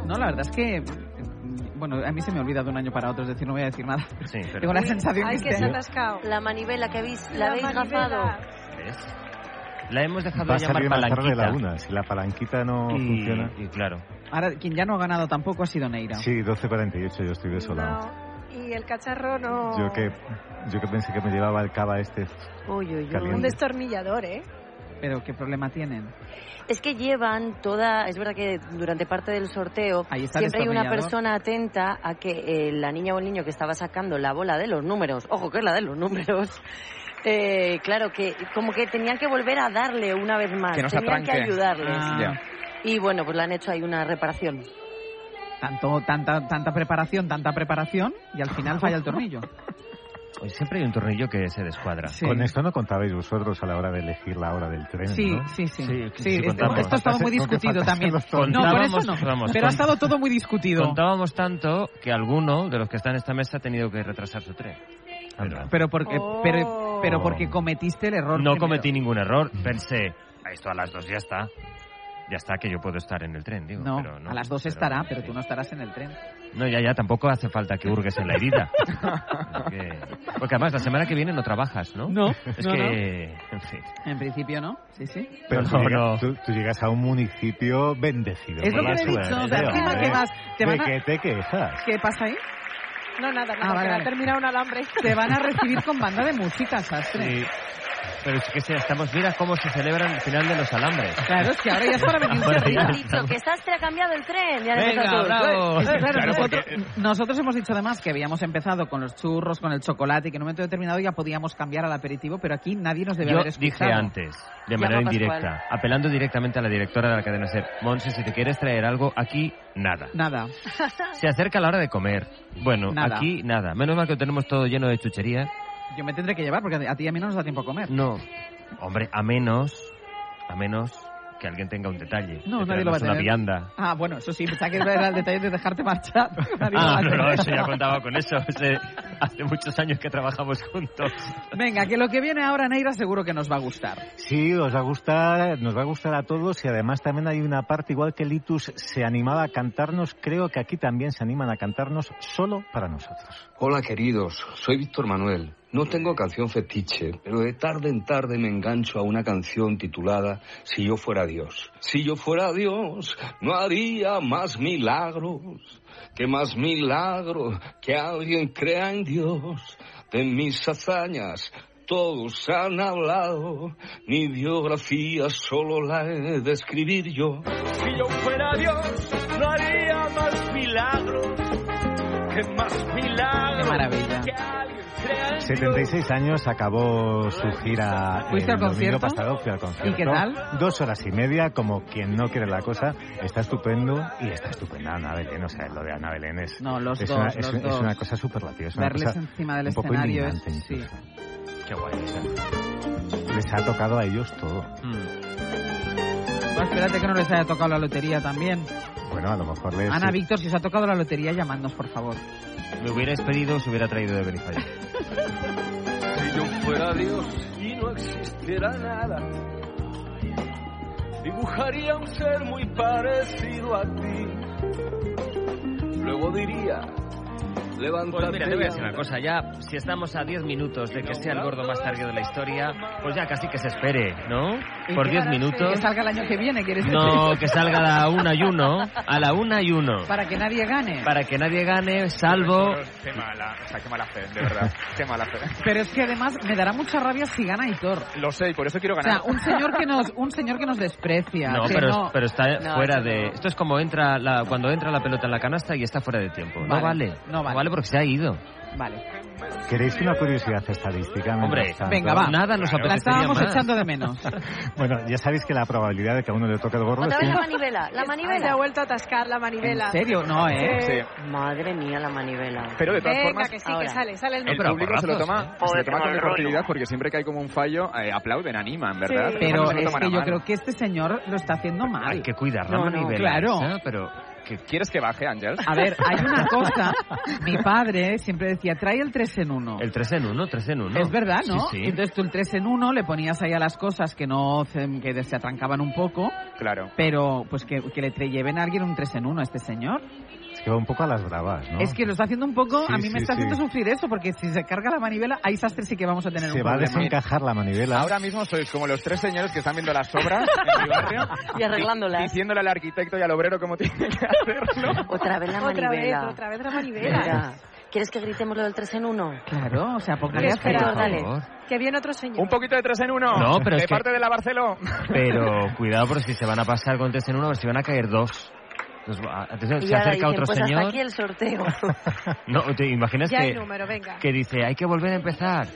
No, la verdad es que. mm, Bueno, a mí se me ha olvidado un año para otro, es decir, no voy a decir nada.
Sí, pero-
Tengo la sensación
Ay,
que,
que
este
se
año-
La manivela que habéis, la,
La
habéis
manivela.
gafado.
¿Ves? La hemos dejado
Va a
de llamar
salir más tarde
palanquita.
la una. Si la palanquita no
Y-
funciona.
Y claro.
Ahora, quien ya no ha ganado tampoco ha sido Neira.
Sí, 12.48, yo estoy desolado.
Y el cacharro no...
Yo que yo que pensé que me llevaba el cava este.
Uy, uy, uy.
Caliente.
Un destornillador, ¿eh?
Pero qué problema tienen.
Es que llevan toda, es verdad que durante parte del sorteo
Ahí está el
siempre hay una
destornillador.
persona atenta a que eh, la niña o el niño que estaba sacando la bola de los números, ojo que es la de los números, eh, claro que como que tenían que volver a darle una vez más,
Que no se
tenían que
atranque.
ayudarles.
Ah.
Y bueno, pues le han hecho ahí una reparación.
Tanto, tanta, tanta preparación, tanta preparación, y al final falla el tornillo.
Hoy siempre hay un tornillo que se descuadra.
Con esto no contabais vosotros a la hora de elegir la hora del tren,
Sí,
¿no?
sí, sí.
que
Sí,
sí
esto-
contamos.
esto ha estado muy
Con que
discutido
faltasen
también.
los
No, por eso
Contábamos-
no.
vamos,
Pero ha
con-
estado todo muy discutido.
Contábamos tanto que alguno de los que están en esta mesa ha tenido que retrasar su tren.
Pero porque, pero, pero porque cometiste el error.
Oh. No
primero.
cometí ningún error. Pensé, "A esto a las dos ya está. Ya está que yo puedo estar en el tren, digo.
No,
pero no.
a las dos estará, pero tú no estarás en el tren.
No, ya, ya, tampoco hace falta que hurgues en la herida. Porque, porque además, la semana que viene no trabajas, ¿no?
No,
Es
no,
que... Eh, En fin.
En principio no, sí, sí.
Pero
No,
tú,
no,
llegas, tú- tú llegas a un municipio bendecido.
Es lo
por
que
la
le he dicho,
suerte,
o sea, encima
hombre.
que vas- te
¿De
van a-
qué te quejas?
¿Qué pasa ahí?
No, nada,
Ah,
nada,
vale,
que
vale.
ha terminado un alambre.
Te van a recibir con banda de música, sastre.
Sí. Pero es que sí, estamos, mira cómo se celebran el final de los alambres.
Claro, es que ahora ya es para venirse
Ahora
arriba.
ya.
Dicho que Sastre ha cambiado el tren. Ya
Venga, bravo.
todo.
Es que, claro,
Claro,
nosotros, nosotros hemos dicho además que habíamos empezado con los churros, con el chocolate, y que en un momento determinado ya podíamos cambiar al aperitivo, pero aquí nadie nos debe
Yo
haber escuchado.
dije antes, de
Llama
manera
Pascual.
indirecta, apelando directamente a la directora de la cadena SER, Monse, si te quieres traer algo, aquí nada.
Nada.
Se acerca la hora de comer. Bueno,
Nada.
aquí nada. Menos mal que lo tenemos todo lleno de chucherías.
Yo me tendré que llevar porque a ti y a mí no nos da tiempo a comer.
No. Hombre, a menos, a menos que alguien tenga un detalle.
No,
De
nadie lo va a
traernos una
tener.
vianda.
Ah, bueno, eso sí, pensaba que era el detalle de dejarte marchar. Nadie lo va
Ah,
a
no, no,
tener.
eso ya contaba con eso. Ese- hace muchos años que trabajamos juntos.
Venga, que lo que viene ahora, Neira, seguro que nos va a gustar.
Sí, os va a gustar, nos va a gustar a todos y además también hay una parte, igual que Litus se animaba a cantarnos, creo que aquí también se animan a cantarnos solo para nosotros.
Hola queridos, soy Víctor Manuel. No tengo canción fetiche, pero de tarde en tarde me engancho a una canción titulada Si yo fuera Dios. Si yo fuera Dios, no haría más milagros, que más milagro que alguien crea en Dios. De mis hazañas todos han hablado, mi biografía solo la he de escribir yo.
Si yo fuera Dios, no haría más milagros. Que más milagros.
Qué maravilla.
76 años acabó su gira
¿Fuiste
el
al
domingo
concierto?
pasado, fui al concierto.
¿Y qué tal?
Dos horas y media, como quien no quiere la cosa, está estupendo y está estupenda Ana Belén, o sea, lo de Ana Belén es,
No, los
es
dos,
una, es
los
un- es
dos.
una cosa superlativa, es una
Verles
cosa
encima del
un poco
escenario es-
indignante incluso.
Qué guay.
Les ha tocado a ellos todo.
Mm. Bueno, espérate que no les haya tocado la lotería también.
Bueno, a lo mejor les...
Ana, Víctor, si os ha tocado la lotería, llamadnos, por favor.
Me hubierais pedido, os hubiera traído de Benifayó.
Si yo fuera Dios y no existiera nada, dibujaría un ser muy parecido a ti. Luego diría, levántate.
Pues mira, te voy a decir
y
una
anda.
cosa, ya si estamos a 10 minutos de que sea el gordo más tarde de la historia, pues ya casi que se espere, ¿no? Por 10
Que
minutos.
salga el año que viene, ¿quieres
No,
decir?
que salga a la una y uno, a la una y uno,
Para que nadie gane.
para que nadie gane, salvo...
Qué mala, o sea, qué mala fe, de verdad. Qué mala fe.
Pero es que además me dará mucha rabia si gana Hitor.
Lo sé, y por eso quiero
O
ganar.
sea, un señor que nos, un señor que nos desprecia.
No,
que
pero,
no-
pero está
No,
fuera
eso
de...
no.
Esto es como entra la, cuando entra la pelota en la canasta y está fuera de tiempo. No
Vale,
vale.
no vale.
porque se ha ido.
Vale.
¿Queréis una curiosidad estadística? mientras
Hombre,
tanto?
venga, va. Nada nos
La
apetecería
estábamos
más.
echando de menos.
Bueno, ya sabéis que la probabilidad de que a uno le toque el gordo
Otra
es
vez
un-
la manivela, la manivela. Se ha vuelto a atascar la manivela.
¿eh?
Madre mía, la manivela.
Pero de todas
¿Eh? Venga,
formas,
que sí,
ahora.
que sale, sale el,
el
micro.
público se lo toma, se lo toma
Joder, qué
con
mal rollo.
deportividad porque siempre que hay como un fallo, eh, aplauden, animan, ¿verdad? cuando
Sí. Pero
se lo
es
toman a
que yo
mal.
creo que este señor lo está haciendo mal.
Hay que cuidar la
No, no,
manivela
claro.
¿eh?
esa, ¿eh? pero... que-
¿Quieres que baje, Ángel?
A ver, hay una cosa. Mi padre siempre decía, trae el 3 en 1.
El 3 en 1, 3 en 1.
Es verdad, ¿no?
Sí, sí.
Entonces tú el 3 en 1 le ponías ahí a las cosas que no se- que se atrancaban un poco,
Claro.
pero pues que, que le tre- lleven a alguien un 3 en 1 a este señor.
Es que va un poco a las bravas, ¿no?
Es que lo está haciendo un poco,
Sí,
a mí me
sí,
está haciendo
sí.
sufrir eso, porque si se carga la manivela, ahí sastre sí que vamos a tener
Se
un
va a
problema. ¿eh?
desencajar la manivela.
Ahora mismo sois como los tres señores que están viendo las obras en mi barrio
Y arreglándolas.
di- Diciéndole al arquitecto y al obrero cómo tiene que hacerlo.
Otra vez la
Otra
manivela.
vez, otra vez la
Venga.
manivela.
¿Quieres que gritemos lo del 3 en 1?
Claro, o sea, porque
Que
espera,
espera,
dale.
Que viene otro señor.
Un poquito de tres en uno.
No,
de
pero es que-
parte de la Barceló.
Pero cuidado porque si se van a pasar con tres en uno, si van a caer dos. Entonces, va- entonces
Y
se
ahora
acerca
dicen,
otro
pues hasta
señor.
aquí el sorteo.
No, te imaginas
Ya hay
que,
número, venga.
que dice, hay que volver a empezar.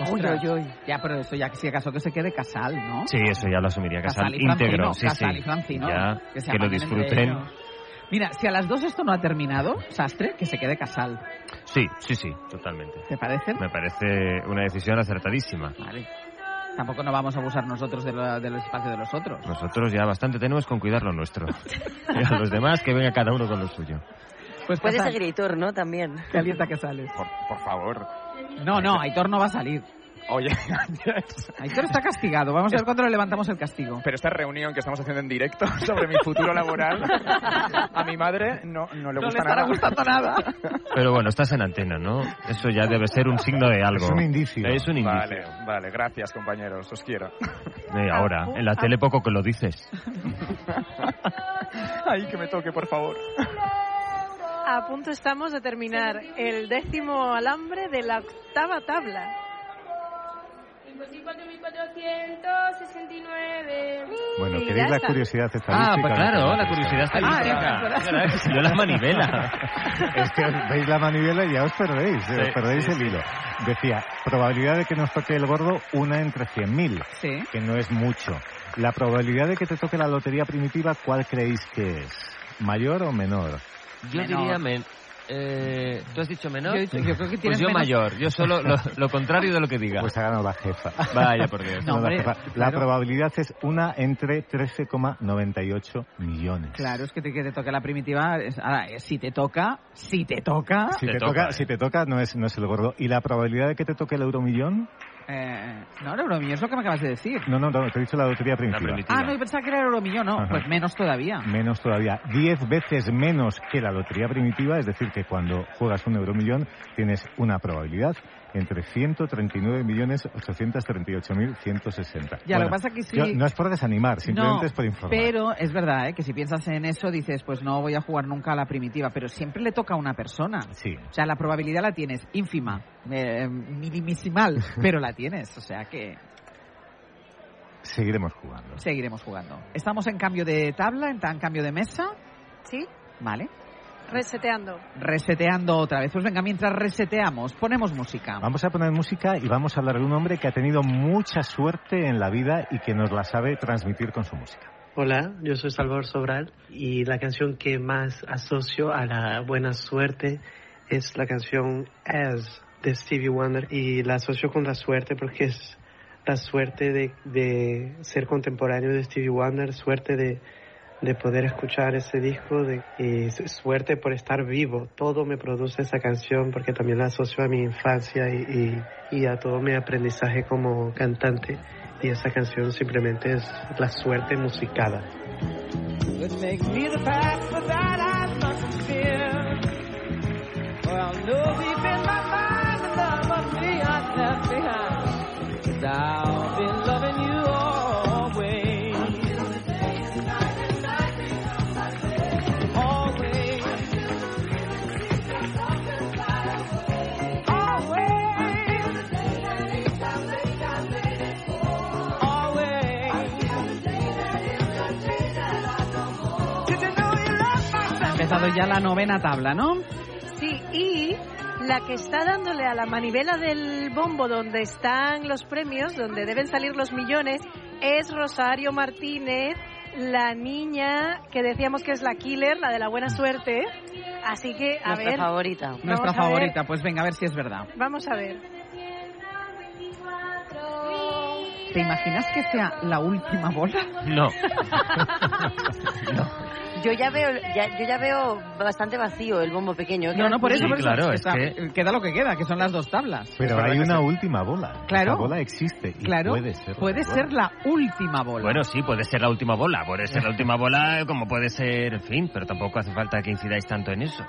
Ostras. Ya, pero eso ya, si acaso que se quede casal, ¿no?
Sí, eso ya lo asumiría Casal,
Casal y
íntegro.
Francino,
sí,
Casal
sí.
y Francino,
Ya,
que se
que lo
apañen entre
disfruten.
ellos. Mira, si a las dos esto no ha terminado, Sastre, que se quede Casal.
Sí, sí, sí, totalmente.
¿Te parece?
Me parece una decisión acertadísima.
Vale. Tampoco no vamos a abusar nosotros de lo- del espacio de los otros.
Nosotros ya bastante tenemos con cuidar lo nuestro. Y a los demás que venga cada uno con lo suyo.
Pues
Puede
Casal,
seguir Hitor, ¿no? También.
Calienta que sales.
Por, por favor.
No, no, Aitor no va a salir.
Oye,
Aitor está castigado. Vamos a ver cuándo le levantamos el castigo.
pero esta reunión que estamos haciendo en directo sobre mi futuro laboral, a mi madre no, no le
No le
gusta
estará
nada.
gustando nada.
Pero bueno, estás en antena, ¿no? Eso ya debe ser un signo de algo.
Es un indicio.
Es un indicio.
Vale, vale, gracias compañeros, os quiero.
Eh, ahora, en
Ah.
la tele poco que lo dices.
Ay, que me toque, por favor.
A punto estamos de terminar el décimo alambre de la octava tabla.
54.469.
Bueno,
Y
¿queréis
ya
la
está. Ah,
curiosidad estadística?
Ah, pues claro, la
Estadística.
curiosidad estadística. Yo la manivela.
Es que veis la manivela y ya os perdéis, eh,
Sí,
os perdéis
sí,
el
sí.
hilo. Decía, probabilidad de que nos toque el gordo, una entre 100.000,
Sí.
que no es mucho. La probabilidad de que te toque la lotería primitiva, ¿cuál creéis que es? ¿Mayor o menor?
Yo
Menor.
diría... men- eh, ¿Tú has dicho menor?
Yo- yo creo que
pues
tienes
yo
menos.
mayor. Yo solo lo, lo contrario de lo que diga.
Pues ha ganado la jefa.
Vaya, por Dios.
No,
No,
la
hombre,
jefa. La
claro.
probabilidad es una entre 13,98 millones.
Claro, es que te, que te toque la primitiva. es- Ahora, eh, si te toca, si te toca.
Si te, toca, eh.
eh.
si te toca no es, no es el gordo. ¿Y la probabilidad de que te toque el euromillón?
Eh, no, no, euromillón es lo que me acabas de decir.
No, no, no, te he dicho la lotería primitiva.
Ah, no, yo pensaba que era euromillón, no.
Ajá.
Pues menos todavía.
Menos todavía, 10 veces menos que la lotería primitiva, es decir, que cuando juegas un euromillón tienes una probabilidad entre 139.838.160.
Ya, lo que pasa que sí-
yo- no es por desanimar, simplemente
No,
es por informar.
Pero es verdad, ¿eh? que si piensas en eso dices, pues no voy a jugar nunca a la primitiva, pero siempre le toca a una persona.
Sí.
O sea, la probabilidad la tienes ínfima, eh, minimisimal, pero la tienes. O sea que
Seguiremos jugando.
seguiremos jugando. Estamos en cambio de tabla, en tan cambio de mesa,
¿Sí?
¿vale?
Reseteando.
Reseteando otra vez. Pues venga, mientras reseteamos, ponemos música.
Vamos a poner música y vamos a hablar de un hombre que ha tenido mucha suerte en la vida y que nos la sabe transmitir con su música.
Hola, yo soy Salvador Sobral y la canción que más asocio a la buena suerte es la canción As de Stevie Wonder y la asocio con la suerte porque es la suerte de, de ser contemporáneo de Stevie Wonder, suerte de, de poder escuchar ese disco de, y su- suerte por estar vivo. Todo me produce esa canción porque también la asocio a mi infancia y, y- y a todo mi aprendizaje como cantante. Y esa canción simplemente es la suerte musicada.
that makes me the path without I mustn't fear. For I'll know deep in my mind the love of me I left behind. Cause I'll be loving you always. Always.
Ha empezado ya la novena tabla, ¿no?
Sí, y la que está dándole a la manivela del bombo donde están los premios, donde deben salir los millones, es Rosario Martínez, la niña que decíamos que es la killer, la de la buena suerte. Así que, a
Nuestra
ver.
favorita.
Vamos
Nuestra
a ver.
favorita. Pues venga, a ver si es verdad.
Vamos a ver.
¿Te imaginas que sea la última bola?
No.
Yo ya veo, ya- yo ya veo bastante vacío el bombo pequeño. ¿eh?
No, no, por eso,
Sí,
por eso.
claro,
O
es
sea, Queda lo que queda, que son las dos tablas.
Pero hay una última bola.
Claro.
La bola existe y
Claro,
puede ser. la
puede
bola.
ser la última bola.
Bueno, sí, puede ser la última bola. Puede ser la última bola, como puede ser, en fin, pero tampoco hace falta que incidáis tanto en eso.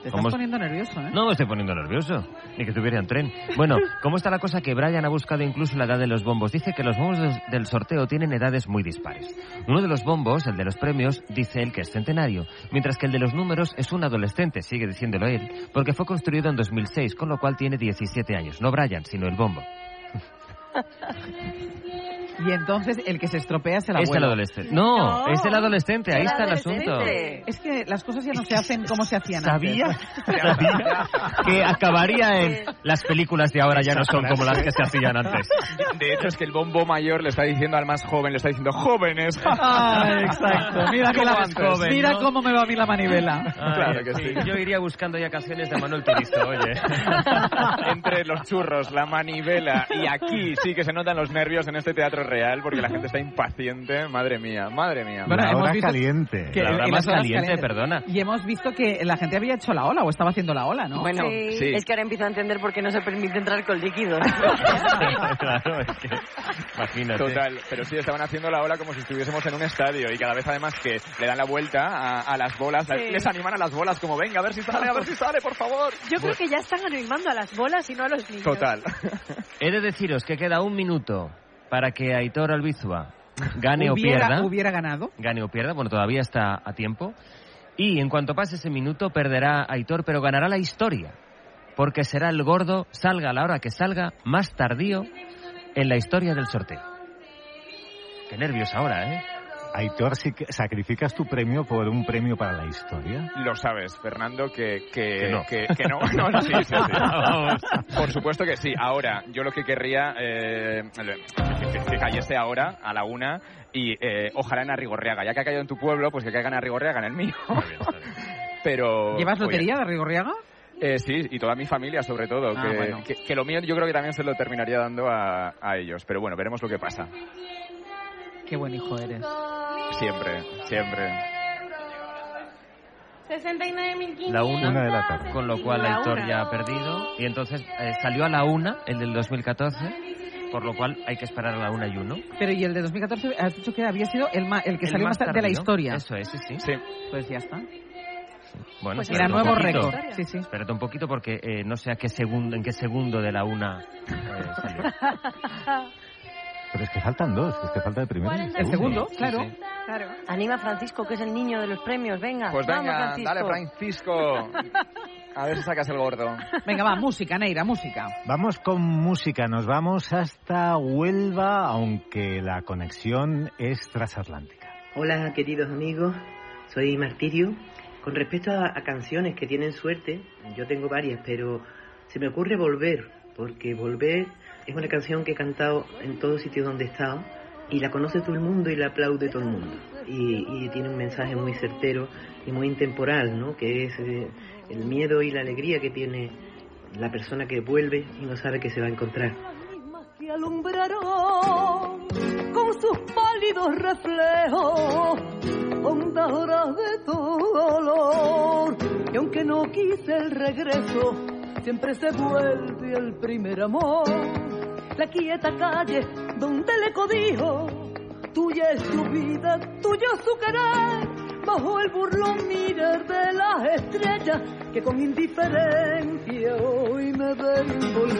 Te estás
Como-
poniendo nervioso, ¿eh?
No me estoy poniendo nervioso, ni que tuviera un tren. Bueno, ¿cómo está la cosa que Brian ha buscado incluso la edad de los bombos? Dice que los bombos des- del sorteo tienen edades muy dispares. Uno de los bombos, el de los premios, dice él que es centenario, mientras que el de los números es un adolescente, sigue diciéndolo él, porque fue construido en 2006, con lo cual tiene 17 años. No Brian, sino el bombo.
Y entonces el que se estropea es el
Es
abuelo.
el adolescente. No, es el adolescente, ahí
El
está el
adolescente.
asunto.
Es que las cosas ya no se hacen como se hacían
Sabía,
antes.
sabía que acabaría en las películas de ahora Ah, ya no son como las que se hacían antes.
De hecho, es que el bombo mayor le está diciendo al más joven, le está diciendo jóvenes.
Ah, exacto. Mira, que
Como
la-
antes.
mira cómo me va a mí la manivela.
Ay,
Claro que sí.
Yo iría buscando ya canciones de Manuel Turizo, Ah, oye.
Entre los churros, la manivela y aquí sí que se notan los nervios en este teatro real porque la gente está impaciente. Madre mía, madre mía.
Bueno, La hemos hora visto caliente.
Que
La hora
en las
más
horas
caliente,
calientes.
perdona.
Y hemos visto que la gente había hecho la ola o estaba haciendo la ola, ¿no?
Bueno, es que ahora empiezo a entender por qué no se permite entrar con líquidos.
claro, es que. Imagínate.
Total, pero sí, estaban haciendo la ola como si estuviésemos en un estadio y cada vez además que le dan la vuelta a, a las bolas,
Sí.
les animan a las bolas como venga, a ver si sale, a ver si sale, por favor.
Yo creo que ya están animando a las bolas y no a los niños.
Total.
He de deciros que queda un minuto para que Aitor Albizua gane o
hubiera,
pierda.
hubiera ganado.
Gane o pierda, bueno, todavía está a tiempo. Y en cuanto pase ese minuto, perderá Aitor, pero ganará la historia. Porque será el gordo, salga a la hora que salga, más tardío en la historia del sorteo. Qué nervios ahora, ¿eh?
Aitor, si que- sacrificas tu premio por un premio para la historia.
Lo sabes, Fernando, que, que,
Que no.
que no. No, no, sí, sí, sí.
Vamos.
Por supuesto que sí. Ahora, yo lo que querría eh, que, que- que cayese ahora a la una y eh, ojalá en Arrigorriaga. Ya que ha caído en tu pueblo, pues que caiga en Arrigorriaga, en el mío. Pero. pues
¿Llevas
oye,
lotería de Rigorriaga?
eh, sí, y toda mi familia sobre todo,
Ah,
que,
bueno.
que- que lo mío yo creo que también se lo terminaría dando a, a ellos. Pero bueno, veremos lo que pasa.
Qué buen hijo eres.
Siempre, siempre.
69.500.
La una, Con lo cual
La
Aitor
una.
ya ha perdido. Y entonces eh, salió a la una, el del 2014, por lo cual hay que esperar a la una y uno.
Pero y el de 2014 has dicho que había sido el, ma- el que
El
salió
más
más tarde de la
tardío.
historia.
Eso es, sí, sí.
Pues ya está.
Bueno,
Pues
espérate
era
un
nuevo
poquito.
récord. Sí, sí.
Espérate un poquito porque eh, no sé a qué segundo, en qué segundo de la una eh, salió.
Pero es que faltan dos, es que falta el primero. y
claro. Anima a Francisco, que es el niño de los premios, venga.
Pues
vamos,
venga,
Francisco.
dale Francisco. A ver si sacas el gordo.
Venga, va, música, Neira, música.
Vamos con música, nos vamos hasta Huelva, aunque la conexión es transatlántica.
Hola, queridos amigos. Soy Martirio. Con respecto a, a canciones que tienen suerte, yo tengo varias, pero se me ocurre Volver, porque Volver es una canción que he cantado en todo sitio donde he estado y la conoce todo el mundo y la aplaude todo el mundo. Y, y tiene un mensaje muy certero y muy intemporal, ¿no? Que es eh, el miedo y la alegría que tiene la persona que vuelve y no sabe que se va a encontrar.
que alumbraron con sus pálidos reflejos hondas horas de tu dolor. Y aunque no quise el regreso, siempre se vuelve el primer amor. La quieta calle donde le codijo, tuya es su vida, tuyo es su querer. Bajo el burlón mirar de las estrellas que con indiferencia hoy me ven volver.